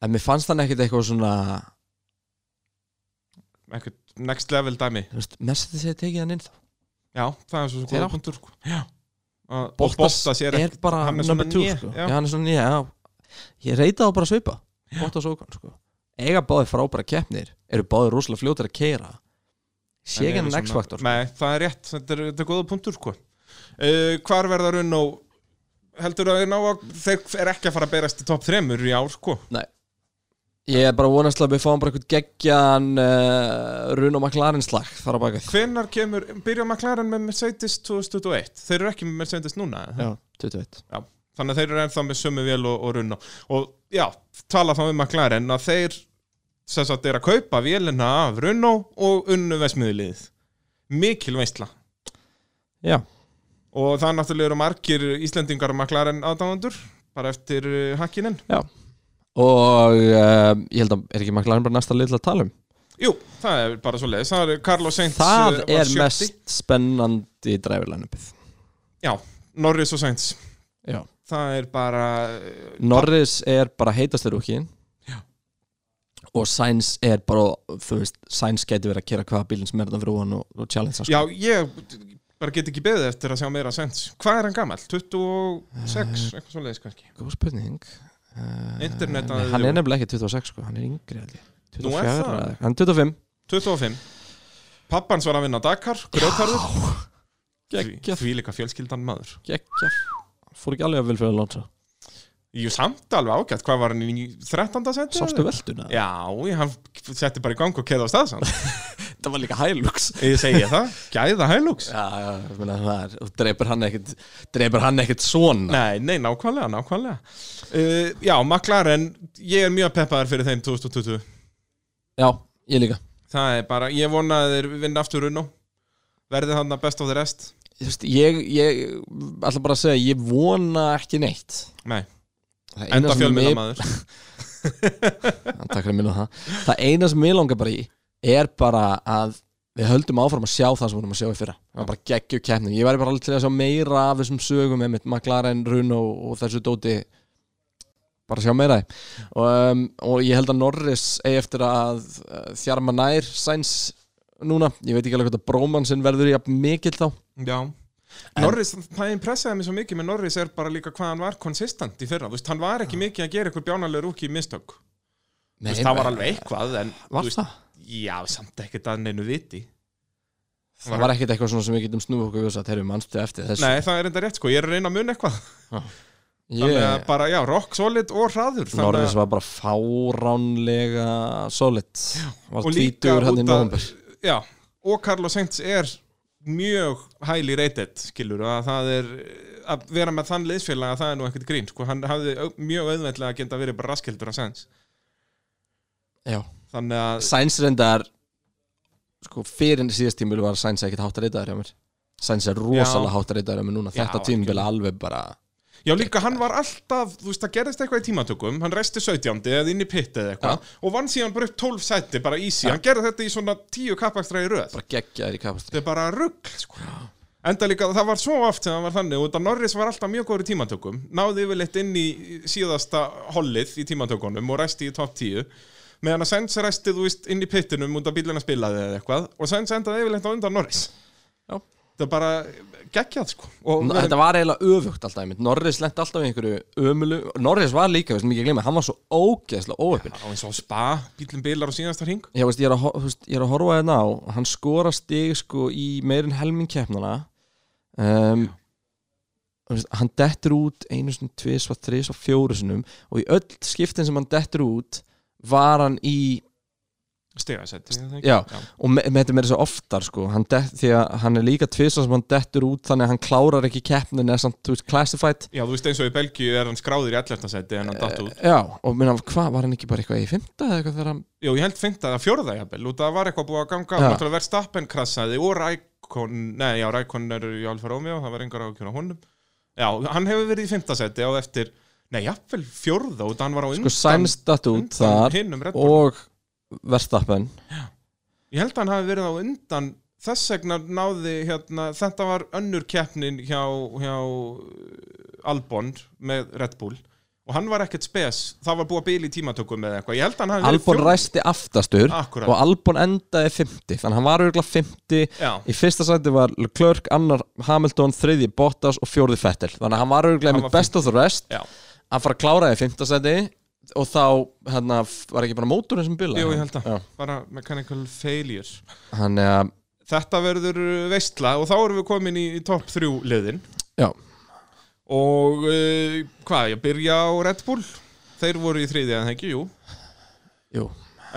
En mér fannst hann ekkit eitthvað svona
ekkert next level dæmi
þú veist, Mercedes hefði tekið hann inn þá
já, það er svo
Þeir
góða
áttu-
punktur sko. Já. og Bottas er
er
ekki-
bara
hann er
number
svona
two
né,
sko.
já.
Já, hann er svona nýja, já Ég reyta á bara að svipa Bottas og hann, sko eiga báði frábæra keppnir eru báði rosalega fljótar að keira sé ekki hann X-faktor
Nei, það er rétt, þetta er, þetta er góða punktur sko. uh, Hvar verða runn og heldur að þeir ná að þeir er ekki að fara að berast í topp 3 í ár sko.
ég er bara vonast að við fáum bara eitthvað geggjan uh, Runa McLaren slag þar á bakað
Hvenær kemur, byrja McLaren með Mercedes 2021? Þeir eru ekki með Mercedes núna eða?
já, 21
þannig að þeir eru ennþá með sömu vél og, og runn og já, tala þá um McLaren að þeir sem sagt er að kaupa vélina af Runno og unnu vesmiðliðið mikil veistla
já,
og það náttúrulega eru margir Íslendingar og McLaren aðdáðandur bara eftir uh, hakkinin
og uh, ég held að er ekki McLaren bara næsta lið til að tala um
Jú, það er bara svo leiðis, það er Carlos Sainz
það
uh, var
er
sjötti.
mest spennandi dræfurlænupið
Já, Norris og Sainz
já
það er bara uh,
Norris er bara heitastur úkinn
Já.
og Sainz er bara þú veist, Sainz gæti verið að kera hvaða bílinn sem er þetta fyrir hann og, og challenge hann sko.
Já, ég bara get ekki beðið eftir að sjá meira Sainz Hvað er hann gamall? 26?
Eh.
Eitthvað svo leiðis kannski
góð spurning uh,
Internet
nei,
að-
hann er nefnilega ekki 26 sko, hann er yngri held ég.
Nú er
24,
það.
eða- hann er 25
25 Pappans var að vinna Dakar, grjótarður
Geggjað.
Því líka fjölskyldan maður
geggja fór ekki alveg að vel fyrir að lóta
Jú, samt alveg ágætt, hvað var hann í 13. seti?
sástu velduna,
Já, ég, hann setti bara í gang og keði á staðsann
þetta var líka hælux
Ég segi það, gæða hælúks
já, já, ég meina það er og dreipur hann ekkit dreipur hann ekkit svona
Nei, nei, nákvæmlega, nákvæmlega uh, Já, McLaren, ég er mjög peppaður fyrir þeim 2020
já, ég líka
Það er bara, ég vona að þeir vinna aftur unn og verði hann að best of the rest
Þú veist, ég, ég ætla bara að segja, ég vona ekki neitt
Nei,
Það eina
enda
sem
fjölmynda
mig-
maður
Já, Takk fyrir að minna á það Það eina sem ég langar bara í er bara að við höldum áfram að sjá það sem við vorum að sjá í fyrra Það var bara geggjur keppnum Ég væri bara alveg til að sjá meira af þessum sögum einmitt McLaren, Runo og þessu dóti bara sjá meira af því. og, um, og ég held að Norris eigi eftir að uh, þjarma nær Sainz núna ég veit ekki alveg hvort að bróman sinn verður jafn mikill þá
Já Norris, það impressaði mig svo mikið með Norris er bara líka hvað hann var konsistant í fyrra þú veist, hann var ekki mikið að gera eitthvað bjánalegur úki í mistök þú
Nei,
veist, það var alveg eitthvað en, þú
Var
veist,
það?
Já, samt ekkert að neinu viti
Það var ekkert eitthvað svona sem við getum snúið okkur við þess að þeirri mannstu eftir þessu
Nei, það er enda rétt sko, ég er að reyna að muna eitthvað Þannig að
Ég-
bara, já, rock solid og hraður þannig að-
Norris var bara fáránlega solid var
og líka
tvítur hann hérna
út
í
að
nóvambur
Já, og Carlos Sainz er mjög highly rated skilur, að það er að vera með þann liðsfélag að það er nú ekkert grín sko, hann hafði au- mjög auðveldlega að geta verið bara raskildur að Sainz þannig að
Sainz reyndar sko, fyrir síðast tímul var Sainz ekkert hátt að reytaður hjá mér Sainz er rosalega
Já.
hátt að reytaður hjá mér núna
Já,
þetta tímul alveg bara
Já, líka hann var alltaf, þú veist, það gerðist eitthvað í tímatökum, hann resti 17. eða inn í pitt eða eitthvað og vann síðan bara upp 12 seti, bara easy, hann gerði þetta í svona 10 kappakstræði röð.
bara geggjaður í kapastri
Þetta er bara rugg, sko. Enda líka, það var svo oft sem það var þannig, út að Norris var alltaf mjög góður í tímatökum, náði yfirleitt inn í síðasta hollið í tímatökunum og resti í top 10, meðan að Sainz resti, þú veist, inn í pittinum út að bílina spilaði eða eitthvað og Sainz endaði yfirleitt á undan Norris.
Já.
Þetta er bara geggjað, sko. Og
N- Þetta var eiginlega öfugt alltaf einmitt. Norris lent alltaf í einhverju ömulu Norris var líka, við sem ekki að glemja, hann var svo ógeðslega óöppin
á eins og á spa, bílinn bilar á síðasta hring.
Já, veist, ég, er að, hor- þú veist, ég er að horfa hérna á hann skora stig sko í meirin helming keppnana um, þú veist, hann dettur út einu sinni, tvið, svað, þrið, svað, fjóru sinum og í öll skiptin sem hann dettur út var hann í
Stegasæti
Já. og me, með þetta meira svo oftar sko hann dett, því að hann er líka tvisvar sem hann dettur út þannig að hann klárar ekki keppnin eða samt, þú veist, classified
Já, þú veist eins og í Belgíu er hann skráður í 11. seti en hann datt út.
já, og minna, hvað, var hann ekki bara eitthvað í fymta eða eitthvað þegar hann
Jú, ég held fint að það fjórða jafnvel, út að það var eitthvað búið að ganga á,
Já.
náttúrulega Verstappen krassaði og Rækon, nei, já, Rækon er í Alfa Romeo, það var engar ákjörn á honum. Já, hann hefur verið í 5. seti á eftir, nei, jafnvel fjórða, út að hann var á
sko
undan,
Sainz datt út þar
hinnum Red Bull.
og Verstappen
Ég held að hann hafi verið á undan, þess vegna náði, hérna, þetta var önnur keppnin hjá, hjá uh, Albon með Red Bull og hann var ekkert spes, það var búið að bíl í tímatökum eða eitthvað, ég held að hann hafi verið
Albon
fjórði.
ræsti aftastur
Akkúrat.
og Albon endaði 50 þannig að hann var auðvitað 50
Já,
í fyrsta sæti var Leclerc, annar Hamilton þriði Bottas og fjórði Fettel þannig að hann var
Hann
auðvitað með
var
best of the rest
já,
að fara að klára í fymta sæti og þá hérna, f- var ekki bara móturinn sem bila
Jú, ég held að.
Já.
bara mechanical failures
Þannig að,
Þetta verður uh, veistla og þá erum við komin í topp þrjú liðin
já,
og uh, hvað, ég byrja á Red Bull þeir voru í þriðja en það ekki, jú
jú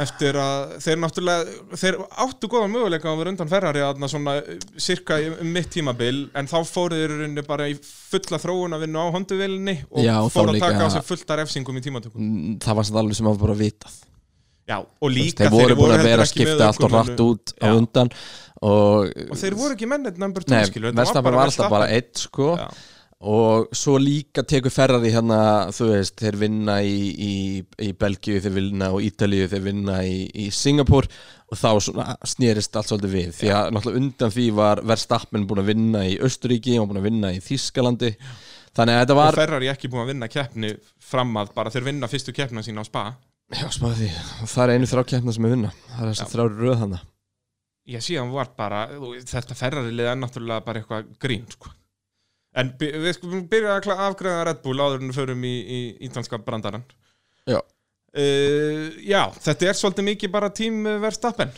eftir að þeir náttúrulega þeir áttu góða möguleika að vera undan Ferrari aðna svona eh, cirka í- um mitt tímabil en þá fóru þeir í rauninni bara í fulla þróun að vinna á honduvelinni og
Já, og þá
fóru að
líka-
taka á sig fullta refsingum í tímatökum
Mm, það var samt alveg sem að bara vitað
Já, og
Þú veist,
líka
þeir voru búin að
heldur
vera að
ekki með
skipta allt og
ökumönnum.
rætt út á
Já.
undan og,
og þeir voru ekki mennir number 2
nei,
skilu
Verstappen var alltaf bara einn sko
Já.
og svo líka tekur Ferrari hérna, þú veist, þeir vinna í, í, í Belgíu, þeir vinna og Ítalíu, þeir vinna í, í Singapur og þá svona snýrist allt svolítið við því að náttúrulega undan því var Verstappen búin að vinna í Östuríki og búin að vinna í Þískalandi þannig að þetta
og
var
Ferrari ekki búin að vinna keppni fram að bara þeir vinna fyrstu keppna sína á spa
já, smáði því, það er einu þrákjæfna sem er vinna það er þess að þrjá röð hana
ég sé hann var bara, þú- þetta Ferrari liða er náttúrulega bara eitthvað grín sko. en by- við skulum byrja að kla- afgreiða Red Bull áður en við förum í, í ítalska brandarann
Já.
Eh, já, þetta er svolítið mikið bara tím verðstappen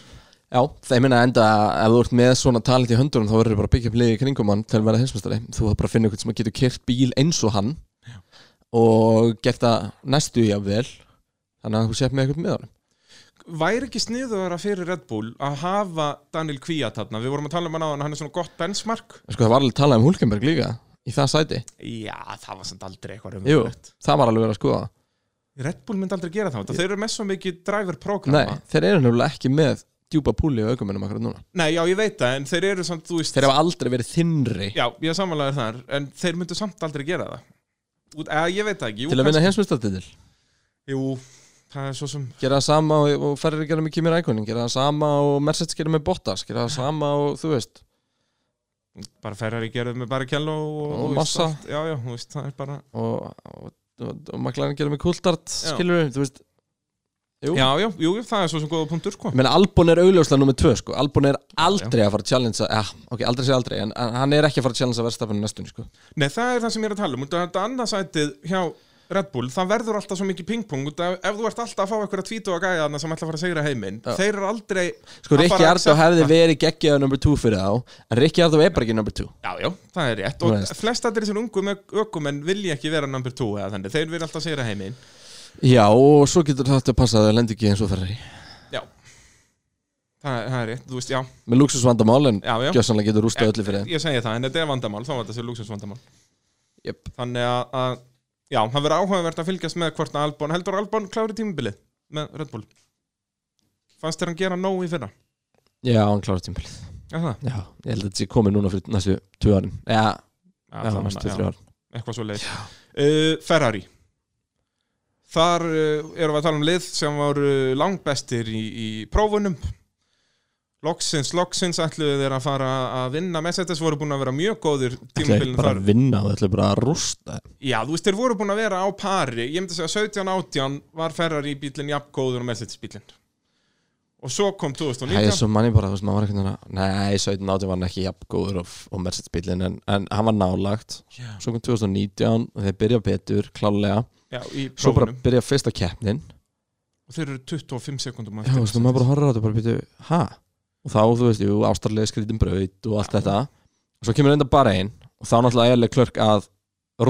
Já, það ég minna enda ef þú ert með svona talent í höndunum þá verður bara að byggja upp liði í kringum hann til að vera hinsmestari þú þarf bara að finna eitthvað sem getur kert bíl eins og hann og gert það næstu í að vel þannig að þú sétt með eitthvað með honum
væri ekki sniðuðara fyrir Red Bull að hafa Daniel Kvíat þarna við vorum að tala um hann á hann er svona gott benchmark
En Sko það var alveg talað um Hulkenberg líka í það sæti
já, það var samt aldrei eitthvað
Jú,
raunverulegt.
það var alveg verið að skoða
Red Bull myndi aldrei gera það þetta. þeir eru með svo mikið driver
Nei,
programa
þeir eru nefnilega ekki með djúpa púli og aukumennum akkurat núna
Nei, já, ég veit það, en þeir eru samt, þú veist
Þeir hafa aldrei verið þinnri
Já, ég samanlega þar, en þeir myndu samt aldrei gera það Út, eða, Ég veit það ekki, jú,
til að vinna
kannski-
hinsmestartitil
Jú, það er svo sem
gera það sama og, og ferri gera með Kimi Rækonin gera það sama og Mercedes gera með Bottas gera það sama og þú veist
bara Ferrari gerðu með Barrichello og,
Og
þú veist,
Massa.
allt- Já, já, þú veist, það er bara
og, og, og, og maklarinn gerir með kultart skilur við, þú veist Jú.
Já, já, jú, jú, það er svo sem góða punktur, sko
ég meina Albon er augljóslega nummer tvö sko Albon er aldrei að fara að challengea ja, ok, aldrei sé aldrei, en en hann er ekki að fara að challengea verðstafinu næstunni sko
Nei, það er það sem ég er að tala um, út af þetta annarsætið hjá Red Bull, það verður alltaf svo mikið pingpong út af, ef þú ert alltaf að fá eitthvað að tvítu að gæja þarna sem ætla að fara að segra heiminn,
Já.
þeir eru aldrei
sko
að
Rikki
fara að
Ardó
accepta-
hefði verið geggjaðu nummer 2 fyrir þá en Rikki Ardó er bara ekki nummer 2
Já, já, það er rétt
Þú
og
veist.
flest allir þessir ungu með ökumenn vilja ekki vera number 2 eða þannig, þeir vilja alltaf segra heiminn
já og svo getur þetta að passa að það lendi ekki eins og ferri
Já Það, það er rétt, þú veist, já,
með luxusvandamál en
já, já
gjössanlega getur rústað öllu fyrir þeim
Ég segi það, en þetta er vandamál, þá var þetta sér lúksusvandamál
Jöp.
Þannig að, að já, það verður áhugavert að fylgjast með hvort að Albon Heldur Albon klári tímabilið með Red Bull Fannst þér hann gera nóg í fyrra?
já, hann klárar tímbilið
Er það?
já, ég held að þetta sé komið núna fyrir næstu 2 árin já,
Já,
já,
það
næstu
já,
3 árin
Eitthvað svo leið uh, Ferrari Þar uh, erum við að tala um lið sem voru langbestir í, í prófunum Loksins, loksins ætluðu þeir að fara að vinna Mercedes voru búin að vera mjög góðir
Þetta er
tímabilið
bara
þar
að vinna og þetta er bara að rústa
Já, þú veist, þeir voru búin að vera á pari Ég myndi að segja 17-18 var Ferrari bílinn jafngóður og Mercedes bílinn Og svo kom
Það er
2019
svo manni bara, þú veist, maður var einhvern veginn að Nei, 17 átti var hann ekki jafn góður og, og Mercedes bílinn en, en hann var nálagt
Já,
Svo kom 2019 og þeir byrja betur, klálega
já í
Svo bara
prófunum
byrja fyrsta keppnin
Og þeir eru 25 sekundum
Já, þú veist, maður bara horfður á þetta og bara býtu, ha? Og þá, þú veist, jú, ástarlega skrítum braut og allt
Já.
þetta Og svo kemur reynda bara einn og þá náttúrulega eðlega klörk að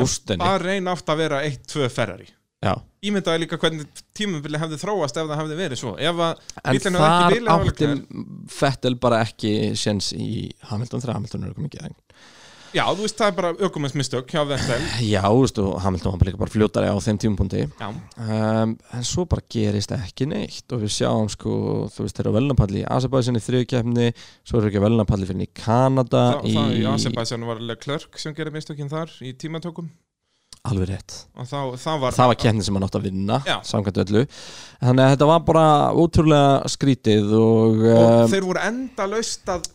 rústinni
Bara reyna átt að vera 1-2 Ferrari
Já,
Ímyndaði líka hvernig tímabili hefði þróast ef það hefði verið svo Ef að,
en
Bíllinn hafði
þar
ekki bilið, það var
átti Fettel bara ekki séns í Hamilton 3, Hamilton er okkur mikið
já, þú veist, það er bara ökumennsmistök hjá Vettel
Já, þú veist, og Hamilton var bara líka bara fljótari á þeim tímapunkti
Já,
um, en svo bara gerist ekki neitt og við sjáum sko, þú veist, þeir eru velnapalli í Azerbaijan í þriðkjæfni svo eru ekki velnapalli fyrir henni í Kanada
það,
Ah, í...
það í Aserbaijan var Leclerc sem gerði mistökinn þar í tímatökum
alveg rétt,
og þá, það var
það var kjæfni sem hann átti að vinna
Já.
samkvæmt öllu þannig að þetta var bara ótrúlega skrítið og,
og
um,
þeir voru endalaust að,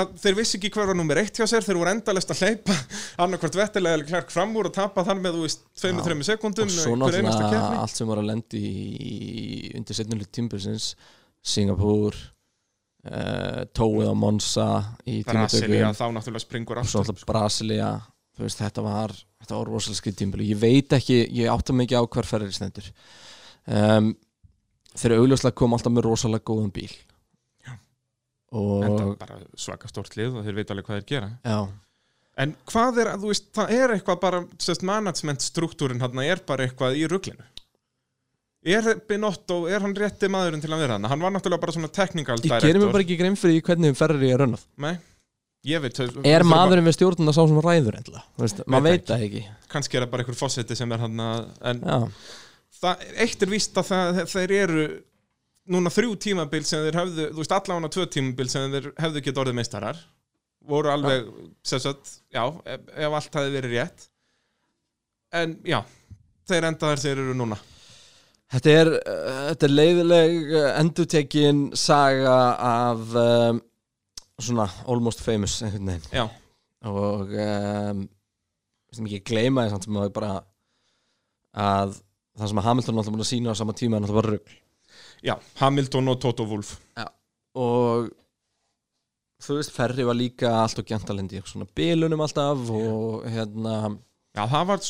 að þeir vissi ekki hver var nummer eitt hjá sér þeir voru endalaust að hleypa annarkvort vettilega eða klærk fram úr og tapa þar með þú veist
Já.
2-3
og
sekundum
svo
hver einasta
náttúrulega
keppni
allt sem var að lendi í, undir setnulit tímpilsins Singapúr uh, Tóið á Monsa í tímatökum
Brasilia þá náttúrulega springur
og
allt
svo
upp,
alltaf Brasilia þú veist, þetta var þetta var rosalskið tímbili, ég veit ekki ég átta mig ekki á hver ferri stendur um, þeir augljóslega kom alltaf með rosalega góðan bíl
Þetta er
og
bara svaka stórt lið og þeir veit alveg hvað þeir gera
já,
En hvað er, að þú veist, það er eitthvað bara, sérst, management struktúrin hann er bara eitthvað í ruglinu. Er Binotto, er hann rétti maðurinn til að vera hann? Hann var náttúrulega bara svona technical
ég gerir mér bara ekki grein fyrir því hvernig ferri er rönnað
Nei, ég veit. þau-
er
þau-
maðurinn við stjórnuna sá sem ræður endla, veist, maður
Veit
veit það ekki
Kannski er það bara einhver fósetti sem er hann að, en
já,
það, eitt er víst að það, þeir eru núna þrjú tímabil sem þeir hefðu, þú veist, allavega tvö tímabil sem þeir hefðu getið orðið meistarar voru alveg, sem sagt, já, ef, ef allt hafi verið rétt. En já, þeir enda þar þeir eru núna.
Þetta er, uh, þetta er leiðileg endutekin saga af um, svona almost famous einhvern veginn
Já.
og um, sem ekki gleyma því samt sem að bara að það sem að Hamilton er alltaf búin að sína á sama tíma er alltaf bara rugl
Já, Hamilton og Toto Wolff
og þú veist Ferri var líka allt og gentalendi svona bilunum alltaf og hérna
Já, það var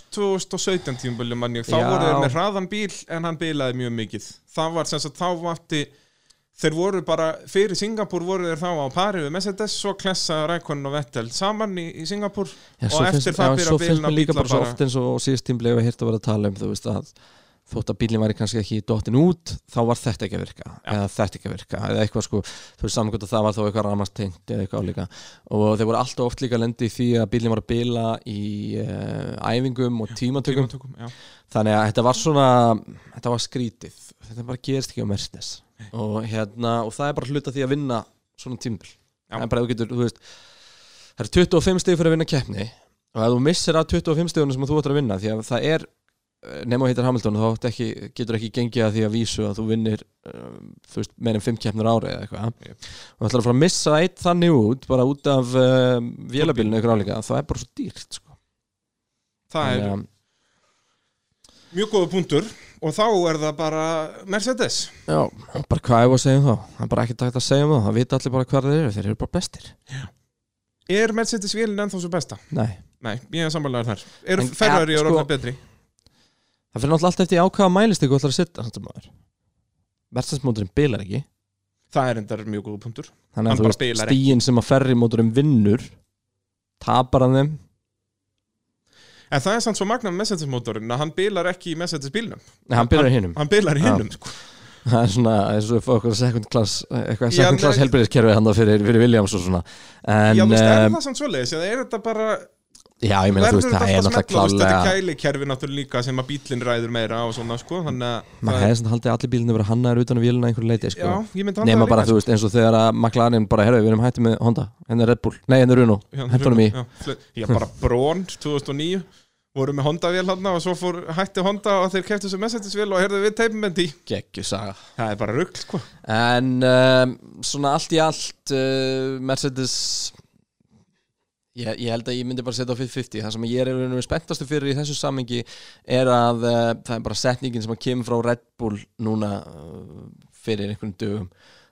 2017 tímabili mann ég Þá
Já.
voru þeir með hraðan bíl en hann bilaði mjög mikið Það var sem sagt, þá vatti Þeir voru bara, fyrir Singapúr voru þeir þá á pari við Mercedes Svo klessa Rækonin og Vettel saman í, í Singapúr
Já,
Og
svo
eftir
finnst-
það
já,
byrja
svo
bílinn
finnst
að
mér líka
bíla
bara svo
bara.
oft eins og síðust tímlega við hýrt að vera að tala um þú veist að þótt að bílinn væri kannski ekki dottin út þá var þetta ekki að virka eða þetta ekki að virka eða eitthvað sko þú veist samkvæmt að það var þá eitthvað ramastengt eða eitthvað álíka og þeir voru alltaf oft líka lendi því að bílinn var að bila í uh, æfingum og tímatökum
Tímatökum, já.
þannig að þetta var svona þetta var skrítið þetta bara gerist ekki á Mercedes og, hérna, og það er bara hluta því að vinna svona tímbil
Já.
það er bara ef þú getur, þú veist það er 25 stig fyrir að vinna keppni og ef þú missir að 25 stigunum sem þú ættir að vinna því að það er, eh, nema þú heitir Hamilton þá átt ekki, getur ekki gengið að því að vísu að þú vinnir um, þú veist, meir en 5 keppnir ári eða eitthvað
Jep.
og þú ætlar að fara að missa eitt þannig út bara út af um, vélabilinu ykkur álíka það er bara svo dýrt sko.
Það er
Þannig að-
mjög góða punktur Og þá er það bara Mercedes
Já, bara hvað hefur að segja um þá? Það er bara ekki takt að segja um það, það vita allir bara hvað þeir eru, þeir eru bara bestir.
Er Mercedes vélinn ennþá svo besta?
Nei,
Nei, ég er sammálaður þar Eru
En-
Ferrari
ja,
og
sko-
orðnir betri?
það fyrir náttúrulega allt eftir á hvaða mælist ykkur ætlar að sitta, þannig að maður. Verstansmóturinn bilar ekki,
Það er endar mjög góða punktur
þannig
Hann
að þú
bara
veist
bilar ekki.
stíin sem að ferri móturinn vinnur, tapar hann þeim.
En það er samt svo magna með Mercedes mótorinn að hann bilar ekki í Mercedes bílnum
Nei, hann bilar hinnum.
Hann bilar í
Já.
hinnum, sko
Það er svona, eins og við fáum okkur second class, eitthvað
Já,
second class
nei.
helbriðiskerfið hann það fyrir, fyrir Williams og svona. En,
Já, þú veist, er
um,
það samt svoleiðis eða er þetta bara,
já, ég meina, þú
verður
veist, það
þetta
er
alltaf smetla,
náttúrulega
þú veist, þetta
klálega,
er kælikerfi náttúrulega líka sem að bílinn ræður meira og svona, sko, þannig að
maður
það-
hefði svona haldið að allir bílunni verið hannaður utan á vélina að einhverju leiti, sko.
Já, ég myndi
nema
það
bara,
líka,
þú veist, eins og þegar að McLaren bara, herru, við erum hætti með Honda, henni er Red Bull, nei, henni Hérna er Renault,
sko. Já,
hendur honum í
já, fle- Já, bara Brón 2009 voru með Honda-vél hann og svo fór hætti Honda og þeir keftu sem messetisvél og herðu við teipmyndi
geggju saga
Það er bara rugl, sko
en um, svona allt í allt uh, Mercedes ég, ég held að ég myndi bara setja á 50-50 það sem ég er í rauninu spenntastu fyrir í þessu samhengi er að uh, það er bara setningin sem að kemur frá Red Bull núna uh, fyrir einhvern dögum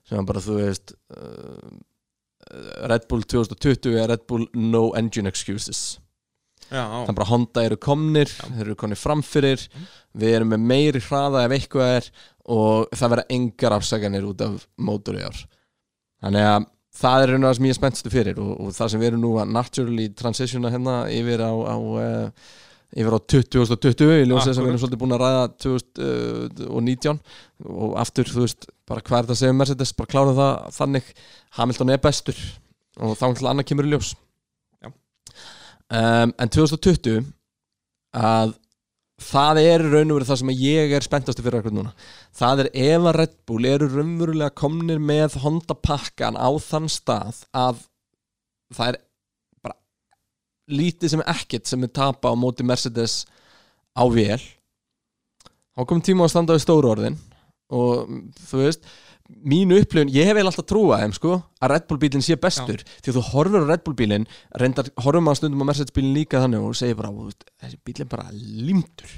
sem að bara, þú veist uh, Red Bull 2020 er Red Bull no engine excuses
Já,
það er bara Honda eru komnir þeir eru konir framfyrir við erum með meiri hraða ef eitthvað er og það verða engar afsakanir út af mótor í ár þannig að það er raun og það sem ég er spennstu fyrir og, og það sem við erum nú að naturally transitiona hérna yfir á, á uh, yfir á 2020 í ljósið sem við erum svolítið búin að ræða 2019 og aftur þú veist bara hvað er það að segja um Mercedes bara klára það þannig Hamilton er bestur og þá ætla annað kemur í ljós
Já.
um, en 2020 að það er í raun og verið það sem að ég er spenntastu fyrir akkur núna það er ef að Red Bull eru raunverulega komnir með Honda pakkan á þann stað að það er bara lítið sem ekkert sem er tapa á móti Mercedes á vél þá kom tíma á að standa við stóru orðin og mm, þú veist mínu upplifun, ég hef eiginlega alltaf trúa þeim sko, að Red Bull bílinn sé bestur því að þú horfur á Red Bull bílinn reyndar horfum að stundum á Mercedes bílinn líka þannig og segir bara, "Þú veist, þessi bílinn bara limtur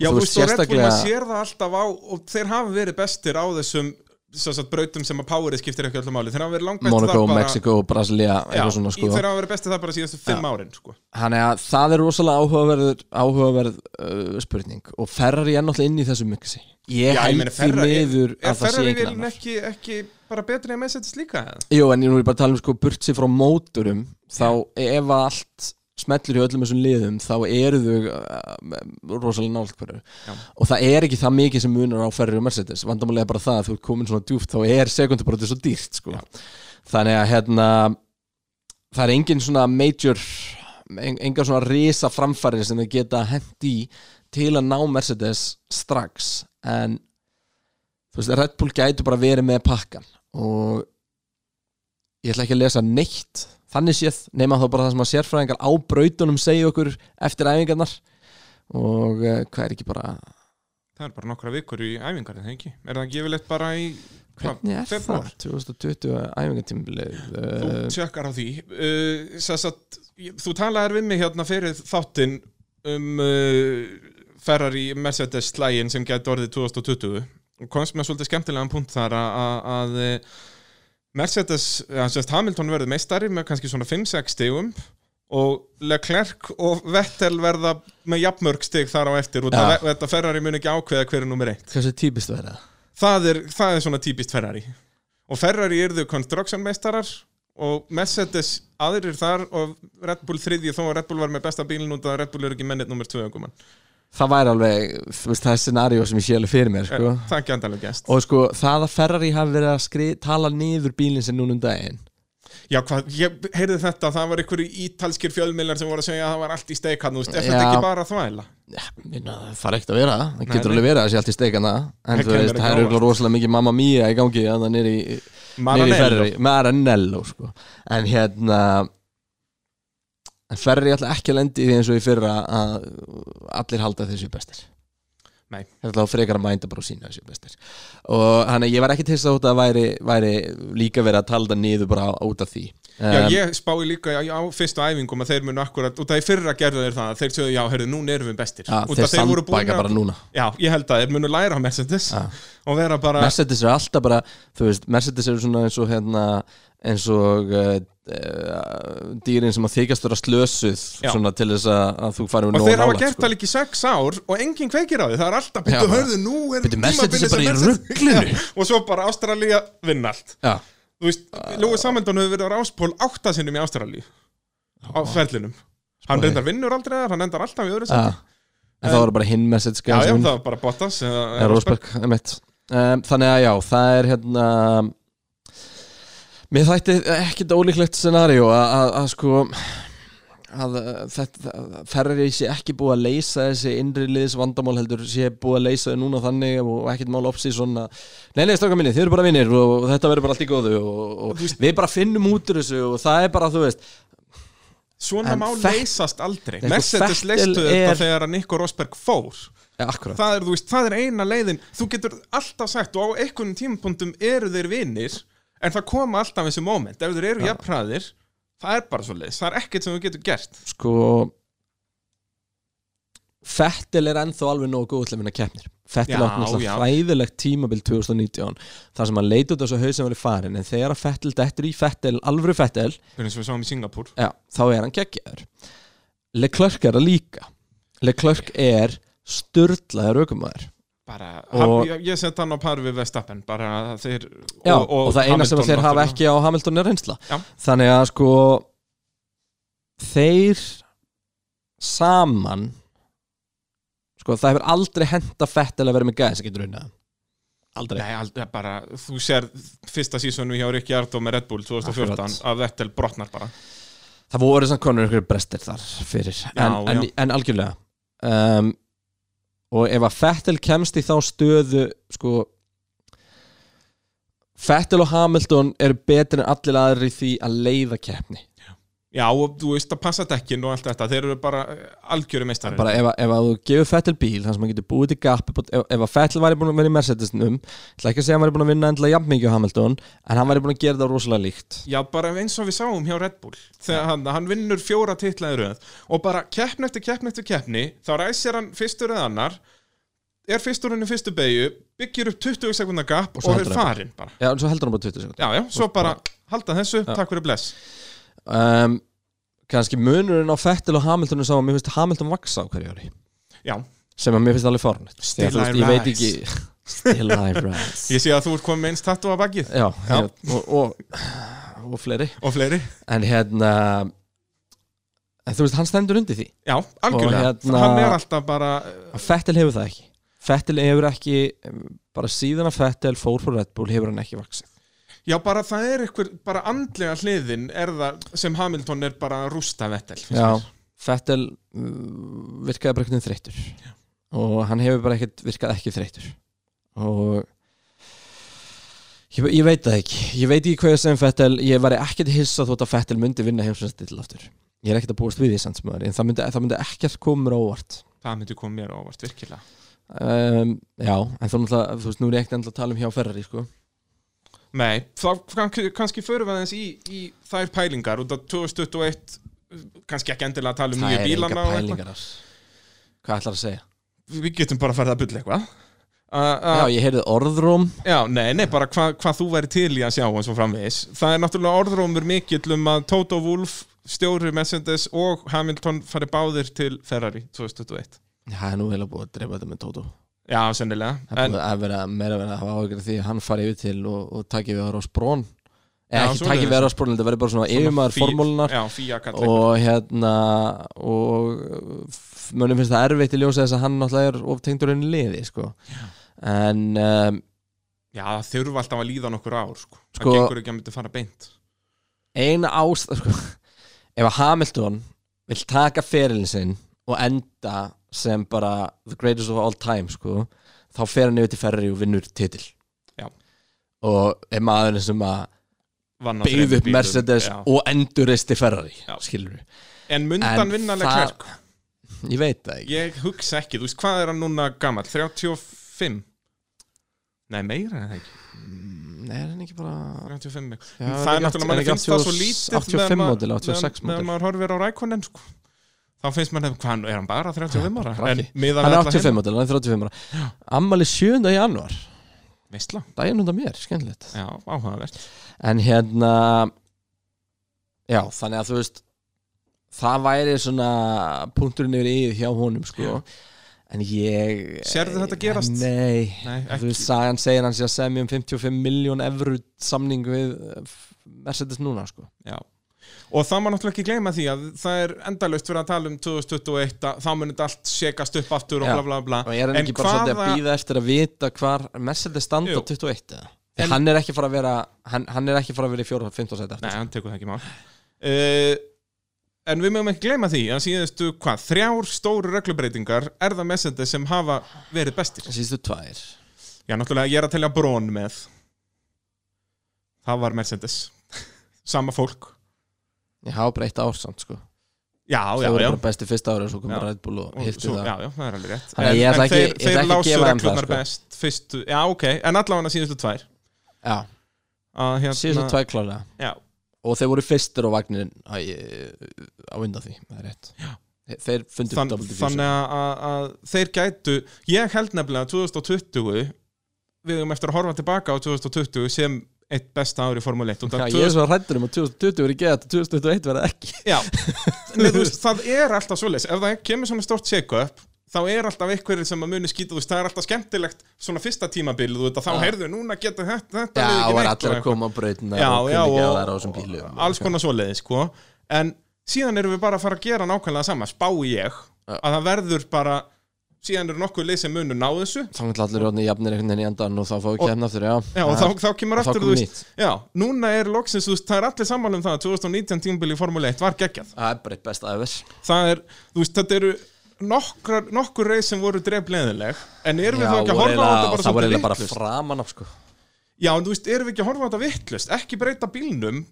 Já,
Og
þú veist, og Red Bull,
sérstaklega-
maður sér það alltaf á og þeir hafa verið bestir á þessum svo sagt, brautum sem að powerið skiptir ekki öllu máli þegar hann verið langt
Monaco, Mexico, Brasilia eitthvað svona sko
þegar hann verið bestið það bara síðastu fimm árin sko.
Þannig að það er rosalega áhugaverð, áhugaverð uh, spurning og Ferrari er náttúrulega inn í þessu mixi Ég
Já,
held
meina,
því
Ferrari-
miður
er
að það sé
Ferrari
ekki
vélin
annar
ekki, ekki bara betri en Mercedes líka eða?
Jú, en nú er ég bara að tala um sko burt sér frá móturum þá ef að allt smetlur í öllum þessum liðum þá eru þau uh, rosalega nált hverju
Já.
og það er ekki það mikið sem munar á Ferrari og Mercedes vandamálega bara það að þú ert komin svona djúft þá er sekundabrótið svo dýrt sko.
Já.
þannig að hérna það er engin svona major en- engar svona risa framfæri sem þau geta hent í til að ná Mercedes strax en þú veist, Red Bull gætu bara verið með pakkan og ég ætla ekki að lesa neitt þannig séð, nema þá bara það sem að sérfræðingar á brautunum segja okkur eftir æfingarnar og uh, hvað er ekki bara
það er bara nokkra vikur í æfingar er það ekki? er það gefilegt bara í hvað,
hvernig er
febrúar?
það? 2020 æfingartímbilið
þú
uh,
tjekkar á því uh, sem sagt, ég- þú talaðir við mig hérna fyrir þáttinn um uh, Ferrari Mercedes slægin sem gæti orðið 2020 og komst með svolítið skemmtilegan punkt þar að- að að, eh, Mercedes, að sérst Hamilton verður meistari með kannski svona 5-6 stigum og Leclerc og Vettel verða með jafnmörg stig þar á eftir og
Já.
ja. þetta Ferrari mun ekki ákveða hver er nummer 1
hversu típist það er það?
það er, það er svona típist Ferrari og Ferrari eru þau construction meistarar og Mercedes aðrir þar og Red Bull þriðji þó að Red Bull var með besta bílinn út að Red Bull eru ekki mennit nummer 2 ökumann
það væri alveg, þú veist, það er scenario sem ég sé alveg fyrir mér sko.
það er ekki andalega gæst
og sko, það að Ferrari hafi verið að skri, tala niður bílinn sem núna um daginn
já hvað, ég heyrði þetta, það var einhverju ítalskir fjölmiðlar sem voru að segja að það var allt í steik hann, þú veist, er
Já.
þetta ekki bara þvæla
Já, minna, það fara ekkert að vera það það getur
nei.
alveg verið að það sé allt í steikana en
Það
þú
kemur
veist,
ekki
það
á
er örugglega rosalega mikið mamma mía í gangi að það nýri
Maranello.
Maranello sko. en hérna en Ferri alltaf ekki að lendi því eins og í fyrra að allir halda þessu bestir
Nei.
Það er alltaf frekar að mænda bara á sína þessu bestir og hann að ég var ekki til þess að þetta væri, væri líka verið að tala það niður bara út af því
Já,
Um,
ég spái líka á, á fyrstu æfingum að þeir munu akkurat, út af í fyrra gerðu þeir það þeir sögðu, já, heyrðu, núna erum við bestir
ja,
Út
þeir
af þeir voru búin
sambæka
að-
bara núna
Já, ég held að þeir munu læra á Mercedes
Já.
og vera bara
Mercedes er alltaf bara þú veist, Mercedes eru svona eins og hérna, eins og uh, uh, dýrin sem að þykjast vera slösuð
Já.
svona til þess að, að þú farið
og þeir hafa
sko.
gert það líka í sex ár og enginn kveikir á því, það er alltaf
Já.
byrju hörðu, nú er
Bíddu, Mercedes
tímabilið sem
er bara í
Mercedes-
ruglinu.
Já, og svo bara Ástralía vinn allt
Já,
þú veist, Lúi Samendon hefur verið á ráspól átta sinnum í Ástralíu á ferlinum hann
Spáði.
reyndar vinnur aldrei þar, hann endar alltaf í öðru
já
sæti
En það voru bara hinn Mercedes
já, já,
sem-
það var bara Bottas eða,
Já, Rosberg, emitt um, Þannig að já, það er hérna Mér þætti ekkit ólíklegt scenaríu að- að að sko að uh, þetta að Ferrari sé ekki búið að leysa þessi innri liðs vandamál heldur sé búið að leysa þau núna þannig og ekkit mál opsi svona Nei, nei, stráka minni, þið eru bara vinnir og, og þetta verður bara allt í góðu og, og við bara finnum út úr þessu og það er bara, þú veist
svona
En
má
Fett-
leysast aldrei
Nei, sko,
Mercedes
Fettel
leystu þetta
er-
þegar að Nico Rosberg fór
ja, Akkurat,
það er, þú veist, það er eina leiðin þú getur alltaf sagt og á einhvern tímapunktum eru þeir vinir en það koma alltaf þessi moment ef þeir eru
Já.
jafnræðir það er bara svo leiðis, það er ekkert sem þú getur gert
sko Fettil er ennþá alveg nógu góð til að vinna keppnir Fettil
Já,
átti
já.
náttúrulega hræðilegt tímabil 2019 þar sem hann leit út á þessu haus sem var í farin en þegar að Fettil dettur í Fettil, alvöru Fettil
það er eins og við sáum í Singapúr
já, þá er hann geggjaður Leclerc er það líka Leclerc er sturdlaður aukumæður
bara,
Og-
ég, ég set hann á par við Vestappen bara að þeir
Já, og, það eina sem að þeir hafa ekki á Hamilton er reynsla
Já.
Þannig að sko þeir saman sko það hefur aldrei henda fett að vera með gæðin sem getur unnið hann. Aldrei
Nei, aldrei, bara, þú sér fyrsta sísonu hjá Rikki Ardó með Red Bull 2014
Akkurat.
að Vettel brotnar bara
Það voru samt konur ykkur brestir þar fyrir en,
já.
En, en algjörlega um, og ef að Fettel kemst í þá stöðu sko Fettel og Hamilton eru betri en allir aðri í því að leiða keppni
Já, og þú veist að passa dekkin og allt þetta þeir eru bara eh, algjöru meistarinn
bara ef, að- ef að þú gefur Fettel bíl þannig sem hann getur búið til gap upp á- ef, ef að Fettel væri búin að vera í Mercedesnum ég ætla ekki að segja að hann væri búin að vinna endilega jafn mikið á Hamilton en hann væri búin að gera það rosalega líkt
Já, bara eins og við sáum hjá Red Bull þegar hann, hann vinnur fjóra titlaði röð og bara keppn eftir keppn eftir keppni þá ræsir hann fyrstur eða annar er fyrsturinn í fyrstu beigju, byggir upp 20 sekundar gap
Og
og,
svo
er
heldur hann.
farinn bara.
Já, en svo heldur hann bara 20 sekund
Já, já, svo bara halda þessu, takk fyrir bless.
um, Kanski munurinn á Fettil og Hamiltonu sá að mér finnst Hamilton vaksa á hverju ári
Já,
sem að mér finnst alveg fornett
Still I
Ég veit
rise.
ekki Still I rise
ég sé að þú ert komið með eins tattu að bakið
Já,
Já.
ég- Og, og, og fleiri
og fleiri.
En hérna En þú veist, hann stendur undir því
Já, algjörlega.
Og hérna-
Hann er alltaf bara,
að Fettil hefur það ekki Fettil hefur ekki um, bara síðan að Fettil fór frá Red Bull hefur hann ekki vaksið
já bara það er einhver, bara andlega hliðin er það sem Hamilton er bara að rústa vettel. finnst
Já,
mér.
Fettil virkaði bara eitthvað þreyttur Já. og hann hefur bara ekkert virkað ekki þreyttur og ég, ég veit það ekki ég veit ekki hvað ég sem Fettil ég væri ekkert hissa þótt að Fettil myndi vinna heimsvæmstill aftur ég er ekkert að búast við því samt sem maður en það myndi, það myndi ekkert koma mér á óvart
Það myndi koma mér á óvart virkilega.
um, Já, en þú, náttúrulega- þú veist, nú er ég ekkert endilega að tala um hjá Ferrari sko.
Nei, þá kann- kannski förum við aðeins í, í þær pælingar út af 2021 kannski ekki endilega að tala um nýju bílana og eitthvað.
pælingar þar Hvað ætlar að segja?
Við getum bara að fara að bulla eitthvað uh,
Já, ég heyrði orðróm
uh, Já, nei, nei, bara hva, hvað þú væri til í að sjá og svo framvegis Það er náttúrulega orðrómur mikill um að Toto Wolff, stjóri Mercedes og Hamilton fari báðir til Ferrari 2021
Það er nú heila búið að dreifa þetta með Tóto
Já, sennilega
Það er
en,
búið að vera meira verið að hafa áhyggjur af því að hann fari yfir til og, og taki við Rós Brón
Já,
Eða ekki
svoleiðis.
taki við Rós Brón, þetta verður bara svona yfirmaður
Fí-
formúlunar
Já, fíja kallar
og hérna og f- mönnum finnst það erfitt í ljósa þess að hann náttúrulega er oftengdur enn liði sko. en um,
Já, það þurfa alltaf að líða nokkur ár sko.
Sko-
Það gengur ekki að myndi fara beint
eina ást sko, ef að Hamilton vill taka ferilin sinn og enda sem bara the greatest of all time sko, þá fer hann yfir til Ferrari og vinnur titil
Já.
og er maðurinn sem að
Vann á
byggði
þremur
upp
bílum,
Mercedes
já.
og enduristi Ferrari
Já.
skilur við,
En
En
mundan vinnanlega
það-
klerk
ég veit það ekki
Ég hugsa ekki, þú veist hvað er hann núna gammal? 35? Nei, meira en það ekki
Nei, Mm, er hann ekki bara
35 eitthvað.
Já,
það er
er ekki
náttúrulega,
átt-
manni
er ekki
finnst það svo
80
lítið
85
meðan ma-
módel, 86
meðan- meðan
módel.
maður horfir á rækonin sko. þá finnst mann, hvað er hann bara 35 ára?
Krakki.
En miðað
hann
við
er
alla hina-
85 ára, hann er 35 ára ammali 7. januar,
Veistla,
daginn undan mér, skemmtilegt
já, áhugavert
en hérna já, þannig að þú veist það væri svona punkturinn yfir íð hjá honum sko en ég Eh,
Sérðu þetta gerast?
Nei,
Nei,
þú
ekki,
veist, sagan segir hann sé að semja um 55 miljón evru samning við eh, f- Mercedes núna sko
já Og það má náttúrulega ekki gleyma því að það er endalaust verið að tala um 2021 að þá munið allt sékast upp aftur og
Já.
bla bla bla
og ég er hann ekki bara svolítið að býða eftir að vita hvar Mercedes standa
Jú.
á 21 eða? Því
En-
hann er ekki fara að vera hann, hann er ekki fara að vera í 4-15 sæti
Nei,
eftir
hann tekur það ekki mál uh, En við mögum ekki gleyma því að síðustu hvað, þrjár stóru reglubreitingar er það Mercedes sem hafa verið bestir
síðustu tvær
Já, náttúrulega ég er að telja brón með Það var Mercedes Sama fólk
ég hafa bara eitt ár samt sko
Já, já,
það voru
já
bara besti fyrsta ára og svo kom
Já.
bara Red Bull og
Og
hilti
svo-
það
Já, já, það er alveg rétt
Þannig að ég ætla ekki-
þeir,
ég ætla
þeir
ekki að
lásu
gefa þeim það,
reglunar
sko.
best fyrstu, Já, ok, en allavega síðustu tvær
já,
að, hérna,
síðustu tvær klálega
Já,
og þeir voru fyrstir á vagnin á, á undan því, það er rétt Þe- þeir fundu
Þann,
upp double diffuser
þannig að, að, að þeir gætu ég held nefnilega að 2020 við höfum eftir að horfa tilbaka á 2020 sem eitt besta ár í Formule 1
Já,
Undan
ég er
2000
svo hrættur um að 2020 verið gett og 2021 verið ekki
Já, Nei, þú veist, það er alltaf svoleiðis ef það kemur svona stort check-up þá er alltaf einhverjir sem að muni skýta þú veist, það er alltaf skemmtilegt svona fyrsta tímabil þú veit að þá
Já.
heyrðu, núna geta þetta, þetta
Já,
lið ekki
og var
neitt
allir
og
að koma á brautina
Já,
og
já,
kunni ekki að
og-
það er á þessum bílum og-
alls konar svoleiði sko en síðan erum við bara að fara að gera nákvæmlega sama spá ég að það verður bara síðan eru nokkuð lið sem munu ná þessu
þá er allir rótni jafnir einhvern veginn í endan og þá fá við
Og-
kemna aftur, já,
já, og þá, þá kemur
Og þá
aftur
kom
þú veist,
nýtt.
já, núna er loksins þú veist, það er allir sammála um það að 2019 tímabili í Formule 1 var geggjað
það er bara eitt besta aðeins
það er, þú veist, þetta eru nokkrar, nokkur reis sem voru drefleðileg en erum við þá ekki að horfa á þetta bara
það var
svolítið
eiginlega bara
vittlust
framan af sko
já, en þú veist, erum við ekki að horfa á þetta vittlust ekki breyta bílnum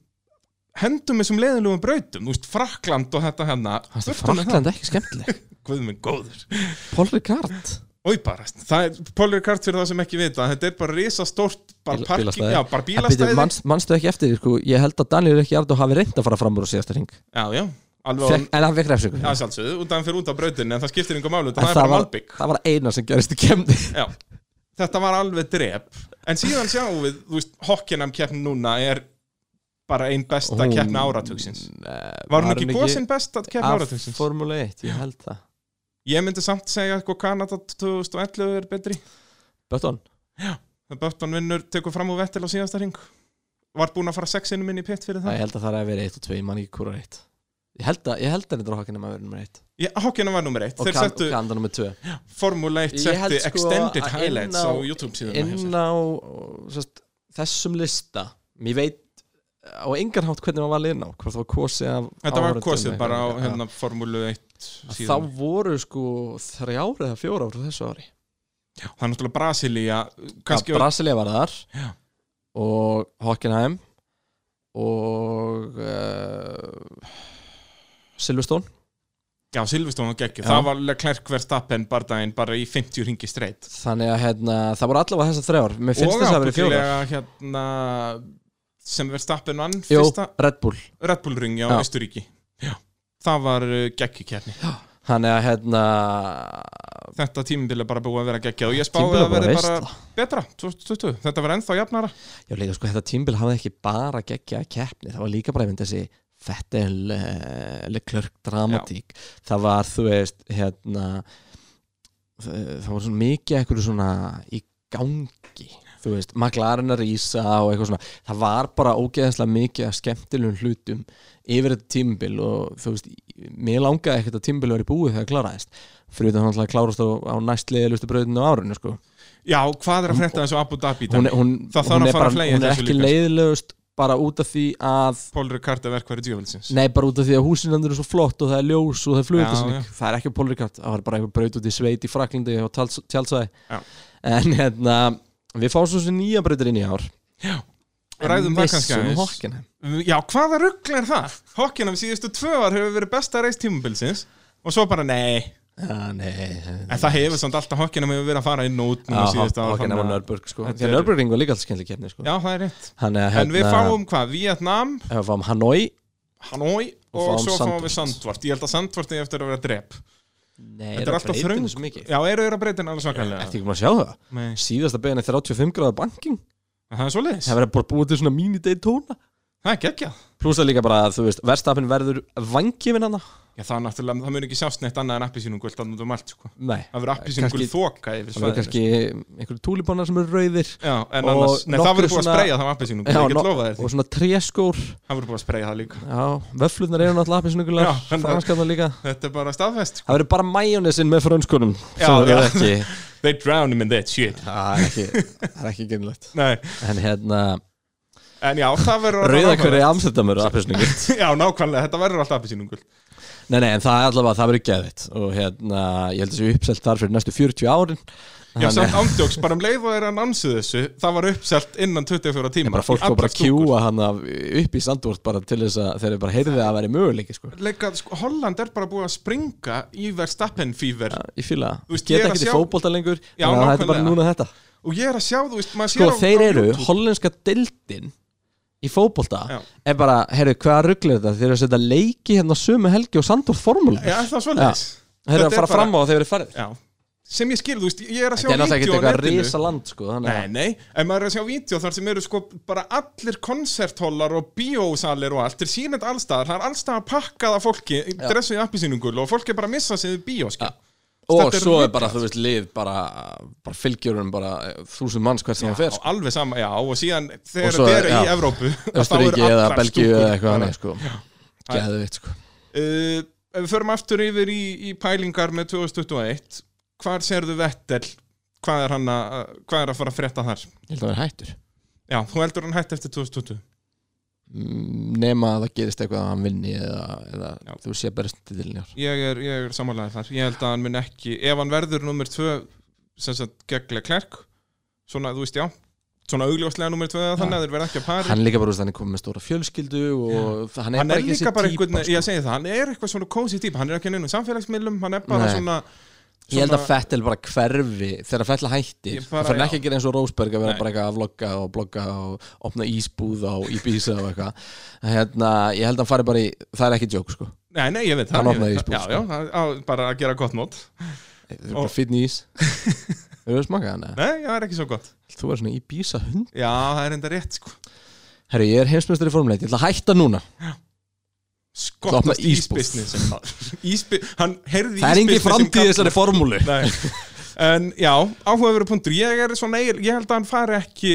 hendum þessum leðilegum brautum, þú veist, Frakland og þetta hérna, Burtu
það er
með það.
frakland ekki skemmtileg
guð minn góður
Paul Ricard
Új bara, það er Pólir Kart fyrir það sem ekki vita, þetta er bara risastórt bara
Bíl-
parking,
bílastæði.
já, bara
En bíddu,
bílastæði
manst- manstu ekki eftir, því, sko, ég held að Daniel ekki arðu hafi reynd að fara fram úr á síðasta ring
já, já, alveg
Fekk, en hann fekk refsingu
á aðsálsöðu út af hann fyrir út af brautinni en það skiptir yngur málu,
En
það er bara
var,
malbygg
það var eina sem gerist í kemni
Já, þetta var alveg drep En síðan sjáum við, þú veist, Hockenham keppn núna er bara ein besta
Hún-
keppna áratugsins
Var
Var hún ekki góðsinn besta keppna
af
áratugsins?
Formule 1, ég held það
Ég myndi samt segja eitthvað Kanada 2011 er betri
Bötton
Bötton vinnur, tekur fram úr vettil á síðasta ring Var búinn að fara sexinu minni í pitt fyrir
Nei,
það
ég held að það er að vera 1 og 2, ég man ekki hvora 1 Ég held að, ég held að þetta er hokkinum að vera nummer 1
Já, Hockenham var nummer eitt
Og
Þeir
kan-
settu
og Kanda nummer 2
Formule 1
Ég
setti
held sko
Extended
að inn
Highlights á
á-
YouTube síðan
Inn á sest, þessum lista Mér veit á engan hátt hvernig maður var liðin á Hvort það var kosið af
Þetta var
áhorfendum
kosið
eitthvað.
bara á
Já.
hérna, Formule 1
Að Þá
síðan
voru sko þrjár eða fjórar frá þessu ári
Það er náttúrulega Brasilia
Kanski
Kanski
Brasilia var þar
Já.
og Hockenheim og uh, Silverstone
Já, Silveston var geggjur,
Já.
það var Leclerc Verstappen bardaginn bara í 50 ringi streitt
þannig að hérna, það voru allavega þessar þrjár mér finnst þess að það hafi verið fjórar
ábyggilega, hérna sem Verstappen vann
Jó,
fyrsta
Red Bull
Red Bull ring á
Já.
Östuríki Já, það var eh, geggjukjarni
þannig að hérna
Þetta tímabil er bara búið að vera geggjað og ég spáði
tímbil
að
var bara
vera bara
veistla
betra 2020, þetta var ennþá jafnara
já líka sko þetta tímbil hafði ekki bara geggja að keppni það var líka bara einmitt þessi fettel klörk eh, dramatík það var þú veist hérna það, það var svona mikið eitthvað svona í gangi þú veist, maklarinn að rísa og eitthvað svona það var bara ógeðslega mikið að skemmtilegum hlutum yfir þetta tímbil og þú veist, mér langaði ekkert að tímbil verið búið þegar kláraðist fyrir þetta hann að klárast á, á næstleiðilustu brautinu á árinu sko
Já, hvað er að frétta þessu Abu Dhabi
hún,
hún,
er- hún,
Það þarf
hún
að
er
fara
bara,
að fleygja
hún er
þessu
ekki
líka.
leiðilegust bara út af því að
Paul Ricard er verkværi djöfelsins
nei, bara út af því að húsinandur er svo flott og það er ljós og það er
Já,
flugatisning það er ekki pólrikat, það var bara einhver braut út í sveit í Fraklandi og tjálsvæði
Já.
en hérna, við fáum svo sem nýja brautir inn í ár En
Ræðum það kannski
missum
aðeins.
Hockenheim.
Já, hvaða ruggl er það? Hockenham síðustu tvö ár hefur verið besta reist tímabilsins og svo bara nei
Já, nei
En það hefur samt alltaf Hockenham hefur verið að fara inn og út núna síðust ára
Hockenheim og Nörburg sko.
Þetta
því að
er-
Nörburg var líka alltaf skemmtileg kefni sko.
Já, það er rétt
Þannig að,
En við
hérna,
fáum hvað? Vietnam,
ef við fáum Hanoi
Hanoi og,
Og fáum
svo fáum við
Sandvort.
Sandvort Ég held að Sandvort er eftir að vera drep
Nei,
Þetta er alltaf þröng
Ertu
Já, eru þeirra breytin alveg svakalega
ekki maður að sjá það?
Nei.
Síðasta bein er 35 gráða banking
En Það er svoleiðis,
Það verður bara búið til svona mini-Daytona
það er geggjað
Plús að líka bara að, þú veist, verstafinn verður vangifinn hann
Já, það er náttúrulega, það mun ekki sjást neitt annað en appisínum guld Þannig um allt, sko
Nei,
Það verður appisínum guld
Kannski-
þoka yfir
það verður
svæðinu
kannski einhverju túlibannar sem eru rauðir
Já, en
og
annars, nei, það
nokkrir
verður búið að
svona-
spreja það appisínum
Já,
Ég get
no-
lofað þér
og
því
svona tréskór
Það verður búið að spreja það líka
Já, vöflurnar eru náttúrulega appisnugular
Já, en það-
franskarnar líka
Þetta er bara staðfest sko.
Það verður bara majónesin með frönskunum
Já,
sem verður
já.
ekki
They drown him in that shit
Það er ekki, það er ekki genilegt
Nei,
En hérna,
en já, það verður
rauðakverði amstættamur appisnugur
Já, nákvæmlega, þetta verður alltaf appisínum guld
Nei, nei, en það er allavega, það verður geðvitt og hérna, ég held að þessu uppselt þar fyrir næstu 40 árin
Já,
Þannig-
samt ándjóks, bara um leið og þeir ansuðu þessu það var uppselt innan 24 tíma
Ég bara fólk
í allar
var
sko.
bara að
stúkur.
kjúa hann af, eh, upp í sandvort bara til þess að þeir eru bara heyrðið að vera möguleiki sko.
Leika, sko, Holland er bara búið að springa í Verstappen fever
Já, Ég fíla
Þú
það,
veist, ég er
geta
að
ekki til
sjá-
fótbolta lengur
Já,
þannig að þetta er bara
nákvæmlega.
núna þetta
og ég er að sjá, þú veist, maður
Sko
sér á-
þeir
á
eru,
YouTube.
hollenska deildin í fótbolta
Já.
er bara, heyrðu, hvaða ruggl er þetta þeir eru að setja leiki hérna sömu helgi og sandvort formúla
Já, er það svoleiðis
þeir
Þetta
eru að
er
fara
bara-
fram á að þeir eru farið
Já, sem ég skil, þú veist, ég er að sjá
Þetta er náttúrulega
vídeo
ekkert
á
eitthvað
netinu.
risa land sko, þannig
Nei,
að
nei, en maður er að sjá vídeo þar sem eru sko bara allir konserthólar og bíósalir og allt, þeir sýnend allstaðar, það er allstaðar pakkað af fólki, dressu í appisýnungul og fólk er bara að missa sig við bíóskil.
Og
Þetta er
svo er
ruglað.
bara, þú veist, lið bara, bara fylgjurum bara eh, þúsund manns hvert sem það fer sko.
Já, alveg sama, já, og síðan
Og
þegar
svo
þeir
er-
eru í
já.
Evrópu að þá
Östuríki
eru
eða
allar
Belgíu
stúkur
eða eitthvað
bara-
annað sko. Geðvitt sko
uh, Ef við förum aftur yfir í, í pælingar með 2021 Hvar sérðu Vettel? Hvað er, hann að, hvað er að fara að frétta þar?
Ég held að það er hættur
Já, þú heldur hann hætt eftir 2020
Mm, nema að það gerist eitthvað að hann vinni eða, eða
Já.
þú sé berist til í ár
Ég er, ég er samanlega þar Ég held að hann mun ekki Ef hann verður nummer 2 sem sagt geglega klerk Svona, þú veist, já Svona augljóslega nummer 2
Já.
þannig að þeir verða ekki að pari
hann er líka bara úr þannig komið með stóra fjölskyldu og það- hann er
hann
bara
er
ekki
líka bara
típa sko.
einhvern, ég segi það, hann er eitthvað svona cozy típa, hann er ekki neina samfélagsmiðlum, hann er bara
Nei.
svona
Ég held að Fettel bara hverfi þegar Fettel hættir
Ég bara-
það fyrir ekki að gera eins og Rósberg að vera
Nei.
bara eitthvað að vlogga og blogga og opna ísbúð á Ibiza og eitthvað hérna, ég held að hann fari bara í, það er ekki joke sko
Nei, nei, ég veit
Hann
það ég
opnaði
veit
ísbúð,
það.
sko.
Já, já, á- á- bara að gera gott mót
það er bara finn ís Hefur þú smakað hann?
Nei, já, það er ekki svo gott
Þú er svona Ibiza hund
Já, það er enda rétt, sko
Herru, ég er heimsmyndstur í formuleiti, ég ætla að hætta núna Þú
Skottast
opnaði ísbúð.
ísbusiness Ísbi, Hann heyrði
Það er engin
ísbusiness
framtíð í
kallar.
þessari formúlu
Nei. En já, áhugaveru punktur Ég er svona, eiginlega- ég held að hann fari ekki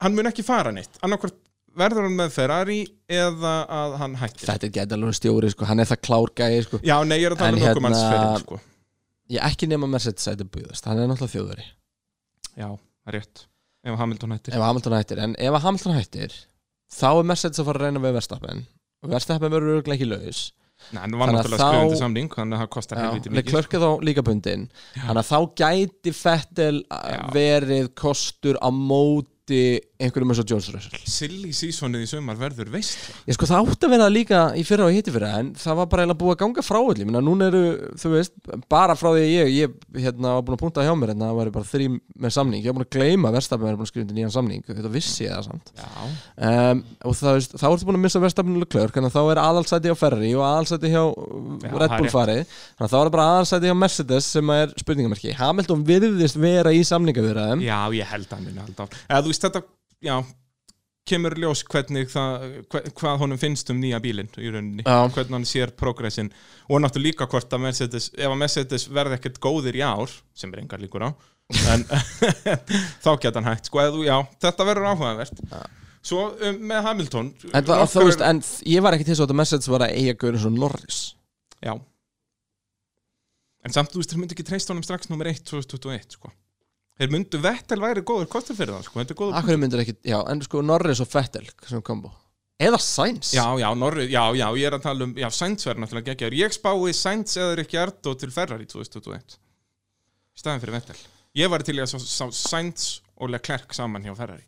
Hann mun ekki fara neitt Annarkvort verður hann með Ferrari Eða að hann hættir
Þetta er gæti alveg stjóri sko, hann er það klár gæi sko
Já, nei, ég er að tala
En
um okkur
hérna-
manns fyrir sko.
Ég ekki nema Mercedes sæti búðast, hann er náttúrulega þjóðveri
Já, það er rétt Ef Hamilton hættir
ef Hamilton hættir en ef að Hamilton hættir þá er Mercedes að fara að reyna við Verstappen og Verstappen verður örugglega ekki laus
Nei, hann var
Þannig að
náttúrulega
þá-
skrifandi samling Þannig að það kostar helviti mikið sko.
Leclerc er þá líka bundin þannig að þá gæti Fettel
Já.
verið kostur á móti einhverjum eins og Jones Russell
Silly seasonið í sumar verður veist
ég sko það átti að vera líka í fyrra og hitti fyrra en það var bara eiginlega búið að ganga frá öll ég meina núna eru, þú veist, bara frá því að ég ég hérna var búin að punta hjá mér en það var bara þrý með samning, ég var búin að gleyma að Verstappen er búin að skrifa undir nýjan samning, þetta vissi ég það samt
Já,
um, og það, veist, þá ertu búin að missa verstafnilega klörk þannig að hérna, þá er aðalsæti hjá Ferrari og aðalsæti hjá
Já,
uh,
það
Red
er
Bull
rétt.
farið þannig að þá er bara aðalsæti hjá Mercedes sem er spurningamarki Hamilton virðist vera í samningavirðaðum
já ég held að hann muni halda áfram. Eða þú veist þetta, já kemur í ljós hvernig það hva, hvað honum finnst um nýja bílinn í rauninni
Já.
hvernig hann sér progressin og náttúrulega líka hvort að Mercedes ef að Mercedes verði ekkert góðir í ár sem er engar líkur á en þá geta hann hægt sko, eða þú, já, þetta verður áhugavert svo um, með Hamilton
en, það,
okkar-
þú veist, en þ- ég var ekki til þess að þetta Mercedes var að eiga gaurin svo Norris
já en samt þú veist, þeir myndu ekki treyst honum strax nummer 1 2021 sko þeir myndu Vettel væri góður kostur fyrir það sko, þetta er góður
Akkur myndir ekki, já, en sko Norris og Vettel sem kombo, eða Sainz
Já, já, Norri, já, já, ég er að tala um, já, Sainz verður náttúrulega geggjaður. Ég spái Sainz eða Ricciardo til Ferrari 2021. Í staðan fyrir Vettel. Ég var til í að sá, sá Sainz og Leclerc saman hjá Ferrari.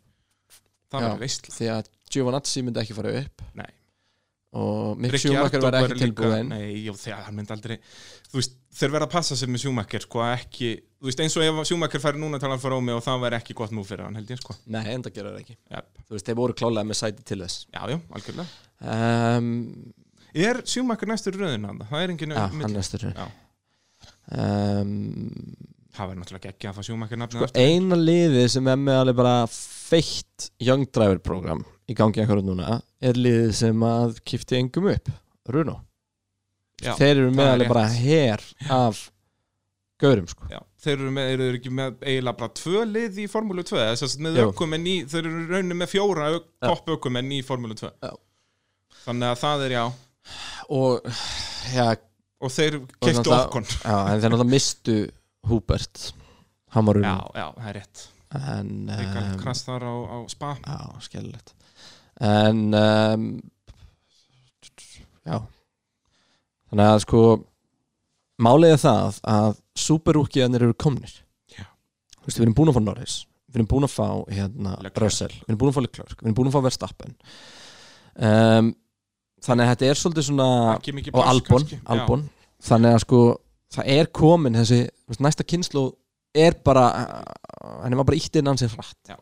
Það
Já.
var veistla.
því að Giovanazzi myndi ekki fara upp
Nei.
og Mick Schumacher var ekki tilbúin
Nei, jú, þegar hann myndi aldrei, þú veist, þeir verða að passa sér með Schumacher, sko, að ekki, þú veist, eins og ef Schumacher færi núna til að fara ómi og það væri ekki gott nú fyrir hann, held ég, sko.
Nei, enda gera það ekki
Jep.
Þú veist, þeir voru klálega með sæti til þess
Já, já, algjörlega.
um,
Er Schumacher næstur röðin hann? Það er engin...
Já,
milli-
hann næstur
Já.
um,
Það verður náttúrulega geggjað að fá Schumacher nafnið
sko, Eina liðið sem er með alveg bara feitt Young Driver program í gangi akkur núna er liðið sem að kipti engum upp, Runo
Já,
Þeir eru
það
með
er
alveg bara
rétt.
her af gaurum sko
Já, þeir eru, með, eru þeir ekki með eiginlega bara tvö lið í Formúlu 2 þess að með
Jú.
ökumenn í, þeir eru raunin með fjóra ök,
Já.
topp ökumenn í Formúlu 2
Já.
þannig að það er já
og já,
og þeir keiftu
náttúrulega-
okkon já,
já, en þeir náttúrulega mistu Hubert hann var Runo
já, það er rétt
en,
þeir um,
um,
krast þar á, á spa
já, skellilegt en um, já þannig að sko málið er það að superrúkiðanir eru komnir
Já.
þú veist, við erum búin að fá Norris við erum búin að fá hérna
Leclerc.
Russell, við erum búin að fá Leclerc, við erum búin að fá Verstappen um, þannig að þetta er svolítið svona
ekki mikið
og
pláss
Albon,
kannski. Já.
Albon. þannig að sko það er komin þessi þú veist, næsta kynslu er bara henni var bara ítt inn hans í hratt
Já.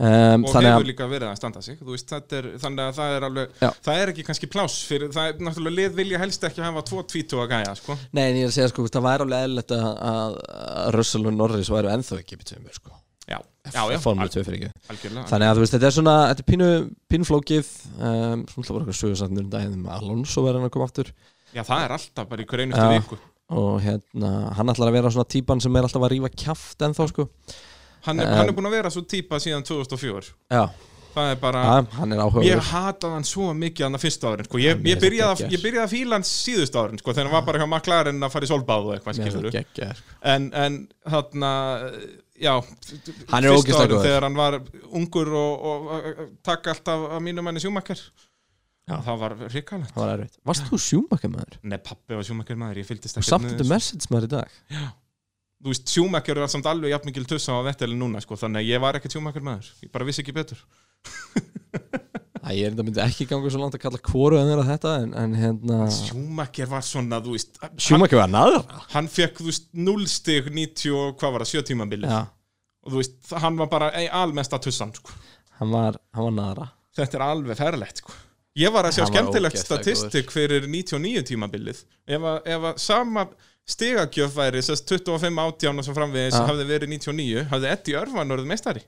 um,
og
þannig
hefur
að
líka verið að standa sig þú veist, þetta er, þannig að það er alveg
Já.
það er ekki kannski pláss fyrir það er náttúrulega lið vilja helst ekki hafa tvo tvítu að gæja sko.
nei, en ég er að segja sko það væri alveg eðlilegt að, að að Russell og Norris væru ennþá ekki betjum sko.
já, já, já, al,
Formule 2 fyrir ekki
algjörlega
þannig að þú veist þetta er svona þetta er pínu, pínu flókið um, svona það var eitthvað sögursatnir um daginn um Alonso verður hann að koma aftur
já, það er alltaf bara í hverju einustu
Já.
viku
og hérna hann ætlar að vera svona típan sem er alltaf að rífa kjaft ennþá sko
hann er,
Eh.
hann er búin að vera svo típa síðan 2004
já,
það er bara
að, hann er áhuga
Ég hataði hann svo mikið hann að fyrsta árin sko. ég,
Hann
ég,
er
byrjaði að,
geggjaður.
ég byrjaði að fíla hann síðust árin sko, þegar hann var bara hjá maklarinn að fara í solbáð og eitthvað
Mér
skilur
finnst það geggjað, sko.
en, en þarna já,
Hann
fyrstu
er ógeðslega
árin
góður.
þegar hann var ungur og, og, og, og takk alltaf af mínum henni sjúmakker
Já.
það var ríkalegt
Það var erfitt. Varst þú sjúmakar maður?
Nei, pappi var sjúmakker maður, ég fylgdist
Og
ekkert
samt
með
þetta
þessu.
message maður í dag
Þú veist, sjúmakker var samt alveg jafn mikil tussa á vettelin núna sko, þannig að ég var ekkert sjúmakker maður ég bara vissi ekki betur
Æ, Æ, ég er enda myndi ekki ganga svo langt að kalla kvoru en þeirra þetta en, en hérna
Schumacher var svona, þú veist hann,
Sjúmakjöf að naðra
hann fekk, þú veist, 0 stig 90 og hvað var það, 7 tímabilið
Já,
og þú veist, hann var bara ei, almesta tussan sko.
hann var, hann var naðra
þetta er alveg ferlegt sko. ég var að sjá
Hann var
skemmtilegt
ógeðslega
statistik fyrir 99 tímabilið ef að, ef að sama stigagjöf væri sest 25 átján og svo framvegis
Ja.
hafði verið 99, hafði Eddie Örvan orðið meistari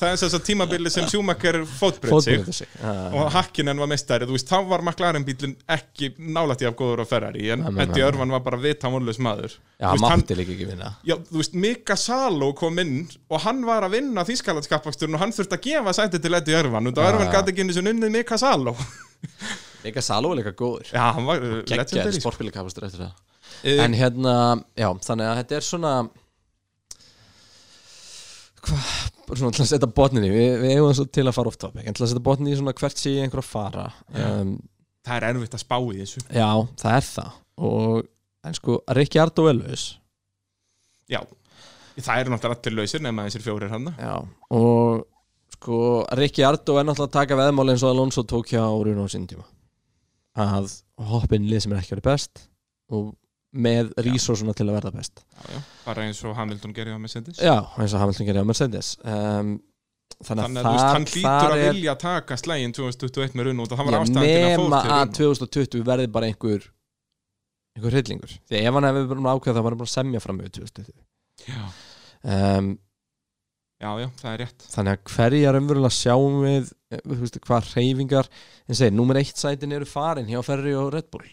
það er þess að tímabilið sem Schumacher fótbreyt sig
Fótbreyta sig Já,
og Hakkinen var meistari, þú veist, þá var McLaren bílinn ekki nálætti af góður á Ferrari en
Nei, nei,
Eddie
nei.
Örvan var bara vitamónlaus maður Þú
Já, hann
veist, hann-
mátti líka ekki vinna
Já, þú veist, Mika Salo kom inn og hann var að vinna þýskalandskappaksturinn og hann þurfti að gefa sæti til Eddie Örvan og
Já,
Örvan
já.
gæti ekki einu sinni unnið Mika Salo
Líka Saló er líka góður
Já, hann var uh,
Gekkjaði
legendary sko.
sportbílakapastur eftir það
Eh,
En hérna, já, þannig að þetta er svona Hvað, bara svona til að setja botnin í Við, við eigum þess til að fara off topic En til að setja botnin í svona hvert sé ég einhver að fara um,
Það er erfitt að spá í þessu
Já, það er það Og, en sko, Rikki Ardó er laus
Já, það eru náttúrulega allir lausir nema þessir fjórir hann
Já, og sko Rikki Ardó er náttúrulega að taka veðmál eins og Alonso tók hjá Runo á sín tíma að hoppin lið sem er ekki verið best og með resursuna til að verða best
bara eins og Hamilton gerði á Mercedes
Já, eins og Hamilton gerir á Mercedes um,
Þannig
Þannig
að þú veist, hann
að
hlýtur að
er-
vilja taka slægin 2021 með runn út og það var
ég
ástæðan til að
nema
fór til
að
runn
2020 verði bara einhver einhver hryllingur því ef hann hefði verið búin að ákveða það var hann bara að semja fram með 2020
já.
um,
já, já, það er rétt
þannig að hverja raunverulega sjáum við eh, þú veist, hvað hreyfingar en segir, númer eitt sætin eru farin hjá Ferri og Red Bull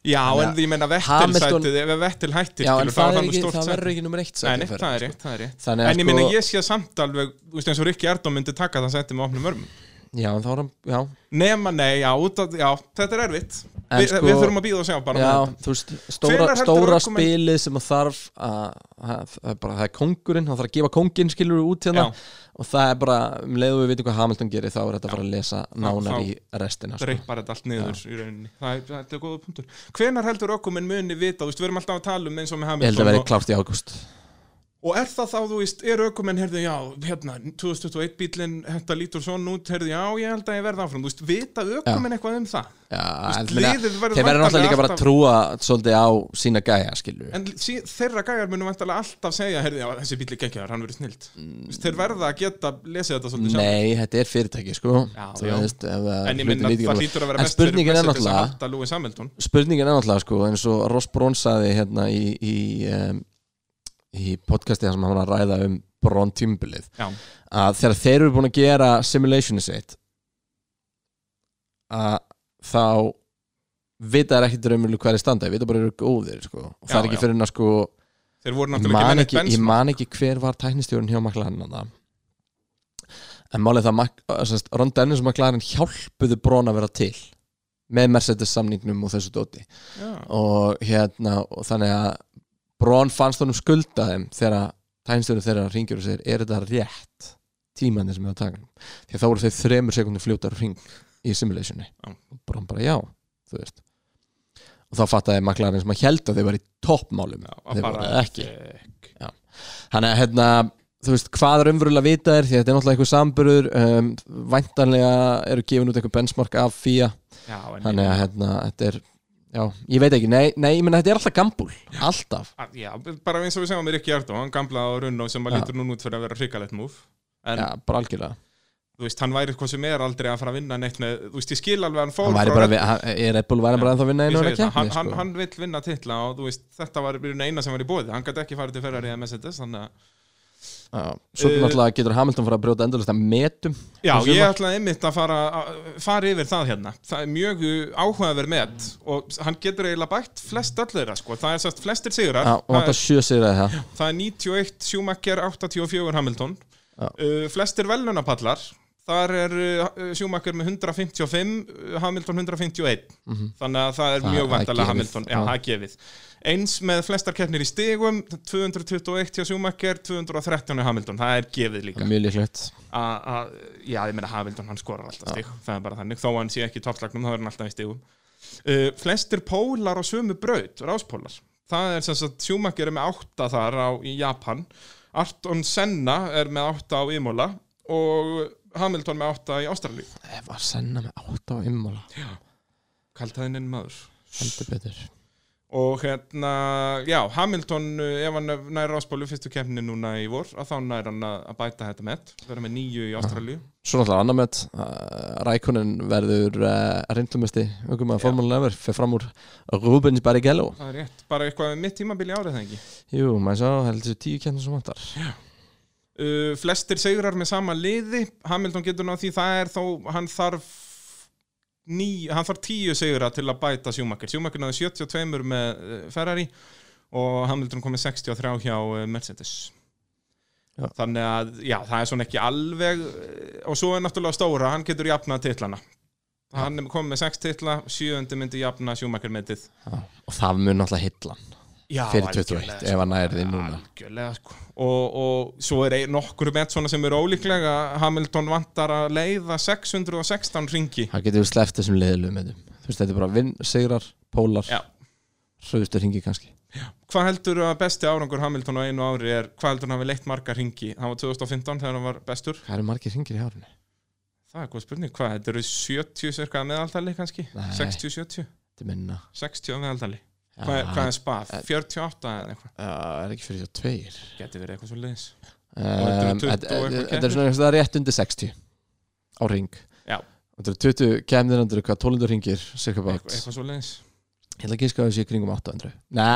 Já,
Þannig
en
að
því menna Vettel
Hamilton-
sætið ef Vettel hættir,
já, en
skilur, þá
það,
er
er
hann
ekki,
stórt
það
sæti
verður ekki númer
Nei,
eitt
nei,
sætin hjá
það er
Ferrari,
rétt, það er rétt
sko.
En
þannig að
ég meina,
sko,
ég sé samt alveg, þú veist eins og Rikki Erdó myndi taka það sætti með opnum örmum
já, en þá er hann já,
Nema, nei, já, út að, já, þetta er erfitt
en sko-
Vi, Við þurfum að býða og sjá bara
já,
með þetta.
þú veist, stóra,
Hvenær heldur
stóra
ökumenn-
spilið sem að þarf að, að, það er bara, það er kongurinn, hann þarf að gefa kongin skilur út hérna
Já,
og það er bara, um leiðu við vitum hvað Hamilton gerir þá er þetta að fara að lesa nánar
þá-
í restina sko.
dreipar þetta allt niður í rauninni Það er, þetta er góða punktur Hvenær heldur ökuminn muni vita, þú veist, við erum alltaf að tala um eins og með
ég held að
Hamilton
vera
og,
klárt í ágúst
og er það þá, þú veist, er ökuminn, heyrðu, já, hérna, 2021 bílinn, þetta lítur svona út, heyrðu, já, ég held að ég verða áfram Þú veist, vita ökuminn eitthvað um það
Já, en
veist,
ég meina,
liðið verður
þeir verður náttúrulega
væntanlega
líka bara
alltaf-
að trúa svolítið á sína gæja, skilur
En sí, þeirra gæjar munum vantarlega alltaf segja heyrði, já, þessi bíli geggjaður, hann verið snilt mm. Þeir verða að geta lesið þetta svolítið sjálf
Nei, þetta er fyrirtæki, sko
Já,
Þú
já.
veist, ef að
En ég
hlutir
minna,
líti ekki
það hlýtur
vel út.
að vera
En
mest fyrir
spurningin er
Mercedes að
náttúrulega
halda Lewis Hamilton
Spurningin er náttúrulega, sko, eins og Ross Brón saði hérna í, í, um, í podcasti þar sem hann var að ræða um Brón tímbilið
Já,
að þegar þeir eru búin að gera simulationi sitt að þá vita þær ekkit raunmjölu hverju standa, þeir vita bara eru góðir, sko og það
Já,
er ekki
já.
fyrir að, sko,
þeir voru
ég
náttúrulega
man,
ekki
ekki,
með neitt
ég
bens
man ekki hver var tæknistjórun hjá McLaren þarna. en málið það Mac- eh, sem sagt, Ron Dennis og McLaren hjálpuðu Brón að vera til með Mercedes samningnum og þessu dóti
Já,
og hérna og þannig að Brón fannst honum skulda þeim þegar tæknistjórun þeirra ringir og segir er þetta rétt tímanir sem er að taka því að þá voru þeir þremur sekundum fljótar ring í simulationi
Já.
og Brón bara já, þú veist og þá fattaði McLaren sem að held að þeir var í toppmálum
já,
þeir
að bara
voru ekki Þannig að hérna, þú veist, hvað er umverulega vita er því að þetta er náttúrulega einhver samburður um, væntanlega eru gefin út einhver benchmark af FIA
Já, en
þannig að hérna, þetta er já, ég veit ekki, nei, nei, ég menna þetta er alltaf gambúl alltaf,
að, Já, bara eins og við segjum með Rikki Erdó Hann gamla á runn og sem að
Já.
lítur núna út fyrir að vera hrikalegt múf En
já, bara algjörlega
þú veist, hann væri hvað sem er aldrei að fara að vinna neitt með, Þú veist, ég skil alveg að hann fór
hann væri
frá
bara,
Red
við, hann, er Red Bull væri bara ennþá að vinna
Ég
einu
segi
að
það, hann,
keppni,
hann,
sko
hann vill vinna titla og þú veist, þetta var í rauninni eina sem var í bóði hann gæti ekki farið til Ferrari eða Mercedes þannig að
Já, svo
Eh,
náttúrulega getur Hamilton fara að brjóta endalist að metum
Já,
Þessu
ég
var-
ætlaði einmitt að fara, að fara yfir það hérna. Það er mjög áhugaverð með og hann getur eiginlega bætt flest öll þeirra, sko. Það er sérst flestir sigrar.
Já, og
það,
vantar sjö sigraði það
er, það er 91, Schumacher 84 Hamilton.
Já.
Uh, flestir velunapallar. Þar er uh, Schumacher með 155, uh, Hamilton 151.
Mhm.
Þannig að það er
Það-
mjög
það er gefið.
vandalega Hamilton. Já,
Já.
það er gefið. Eins með flestar keppnir í stigum, 221 hjá Schumacher, 213 hjá Hamilton. Það er gefið líka
mjög líklegt
að, að- já, ég meina Hamilton, hann skorar alltaf stig það er bara þannig, þó hann sé ekki í toppslagnum þá er hann alltaf í stigum uh, flestir pólar á sömu braut, ráspólar það er sem sagt, Schumacher er með átta þar á, í Japan, Arton Senna er með átta á Imola og Hamilton með átta í Ástralíu
Ef að senna með átt á ymmola
Kaltaðinn en maður
Heldur betur
Og hérna, já, Hamilton uh, ef hann næra áspólu fyrstu keppni núna í vor að þá næra hann að að bæta þetta met vera með nýju í Ástralíu
Svo náttúrulega annar með uh, Rækonin verður uh, reyndlumesti Ögum að
Já.
formúlun efur Fyrir fram úr Rubens Barrichello
Það er rétt, bara eitthvað með mitt tímabili árið það ekki
Jú, maður sá heldur þessu tíu kjarnir sem vantar
uh, Flestir sigrar með sama liði Hamilton getur náð því það er þó hann þarf ný, hann þarf tíu sigra til að bæta sjúmakir sjúmakir náði 72 með uh, Ferrari og Hamilton komið 63 hjá uh, Mercedes
Já.
Þannig að, já, það er svona ekki alveg eh, og svo er náttúrulega stóra, hann getur jafnað titlana Hann er komið með 6 titla, sjöundi myndi jafna sjúmakir metið
Já. Og það mun náttúrulega hitlan
Já,
Fyrir
algjörlega,
21,
sko.
ef hann nær því núna.
Algjörlega, sko Og, og svo er ein- nokkur met svona sem er ólíklega Hamilton vantar að leiða 616 ringi
Það getur við sleppt þessum leiðilum Þú veist, þetta er bara vinn, sigrar, pólar
Já.
Hröðustu ringi kannski
Hvað heldur að besti árangur Hamilton á einu ári er Hvað heldur hann hafi leitt marga ringi? Það var 2015 þegar hann var bestur
Hvað eru margir ringir í hárinu?
Það er góð spurning, hvað, þetta eru 70 cirka að meðaltali kannski?
Nei.
60-70?
Þetta er minna
60 að meðaltali
Já,
Hvað, er- hvað er spað? 48 eða eitthvað?
Já, er ekki fyrir því að tveir
Geti verið eitthvað svo leiðis þetta eru 20 og
Um,
eitthvað
Þetta þetta er svona einhvers staðar rétt undir 60 á ring
Já.
Þetta eru 20 kemðir, þetta eru hvað 1200 ringir cirka bát,
Eitthvað, eitthvað svo leiðis
ég ætla að gíska að þessi kringum 800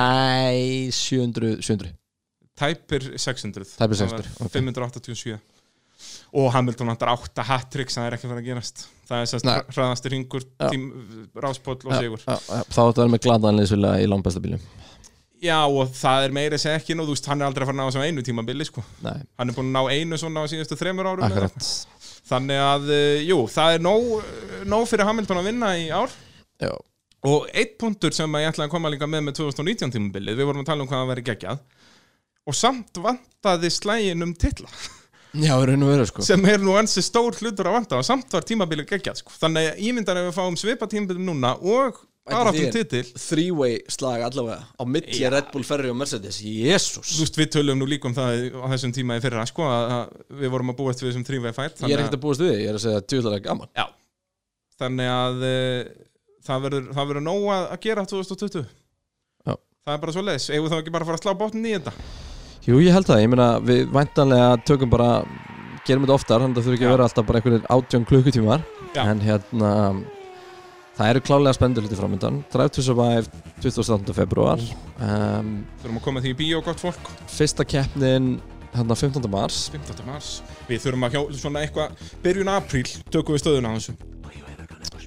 Nei, 700, 700
tæpir 600
Tæpir
Það var
600, ok.
587 og Hamilton vantar 8 hat-trick það er ekki að fara að gerast það er sérst
Nei.
hraðasti ringur
Já.
tím, ráspóll og sigur
Já, já, Þá þetta verður með gladanleysvila í langbæstabílum
já og það er meira sem ekki nú þú veist hann er aldrei að fara að ná þessum einu tímabili sko.
Nei,
hann er búin að ná einu svona á síðustu þremur árum eða
akkurat
eitthvað. þannig að eh, jú það er nóg, nóg fyrir Hamilton að vinna í ár
Já,
Og eitt punktur sem að ég ætlaði að koma líka með með 2019 tímabilið, við vorum að tala um hvað það væri geggjað og samt vantaði slægin um titla,
já raun og veru sko
sem er nú ansi stór hlutur að vanta og samt var tímabilið geggjað sko. þannig að ég myndar ef við fáum svipa tímabilið núna og baráttum
þér.
titil
Three-way slag allavega á milli Red Bull, Ferrari og Mercedes Jésús
Þú veist, við tölum nú líka um það á þessum tíma í fyrra, sko, að að við vorum að búast við þessum þrývei fært
Ég er ekkert að búast við, því, ég er að segja að djúðlega gaman
Já, þannig að e, það verður, það verður nóg að, að gera 2020
Já.
Það er bara svo leiðis, eigum við þá ekki bara að fara að slá botnin í þetta
Jú, ég held það, ég meina við væntanlega tökum bara gerum þetta oftar, þannig að þau ekki
Já.
að vera alltaf bara einhverjir átjón klukkutímar
Já.
en hérna það eru klálega spendur hluti framöndan Drive to Survive 28. februar um,
Þurfum að koma því í bíó, gott fólk
fyrsta keppnin hérna 15. mars
15. mars Við þurfum að hjá svona eitthvað Byrjun apríl tökum við stöðuna á þessu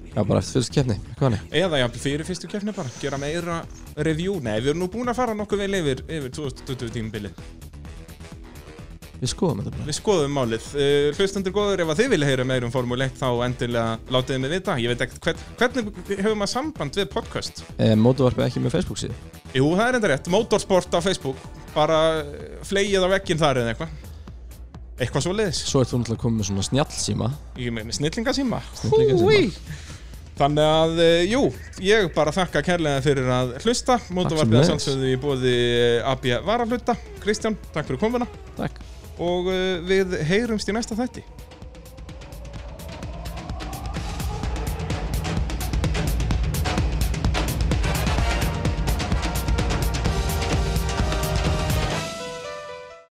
já, bara eftir fyrsta keppni, eitthvað hannig
Eða jafnvel fyrir fyrstu keppni bara Gera meira review Nei, við erum nú búin að fara nokkuð vel yfir Yfir 2020 tímabili
Við skoðum þetta bara
Við skoðum málið uh, Hlustendur góður, ef að þið vilja heyra meira um Formule 1 Þá endilega látiði mig vita Ég veit ekkert, hvern, hvernig hefur maður samband við podcast?
e, Mótuvarpið ekki með Facebook síðu
Jú, það er enda rétt Motorsport á Facebook Bara eh, fleygið á vegginn þar eða eitthvað Eitthvað svo leiðis
Svo ert þú náttúrulega komið með svona snjallsíma
Ég meina snillingasíma
Snillingasíma.
Húi. Þannig að, eh, jú, ég bara þakka kærlega fyrir að hlusta Mótavarpið að
sömuleiðis.
sjálfsögðu í eh, bóði AB Varahluta Kristján, takk fyrir komuna
Takk
og eh, við heyrumst í næsta þætti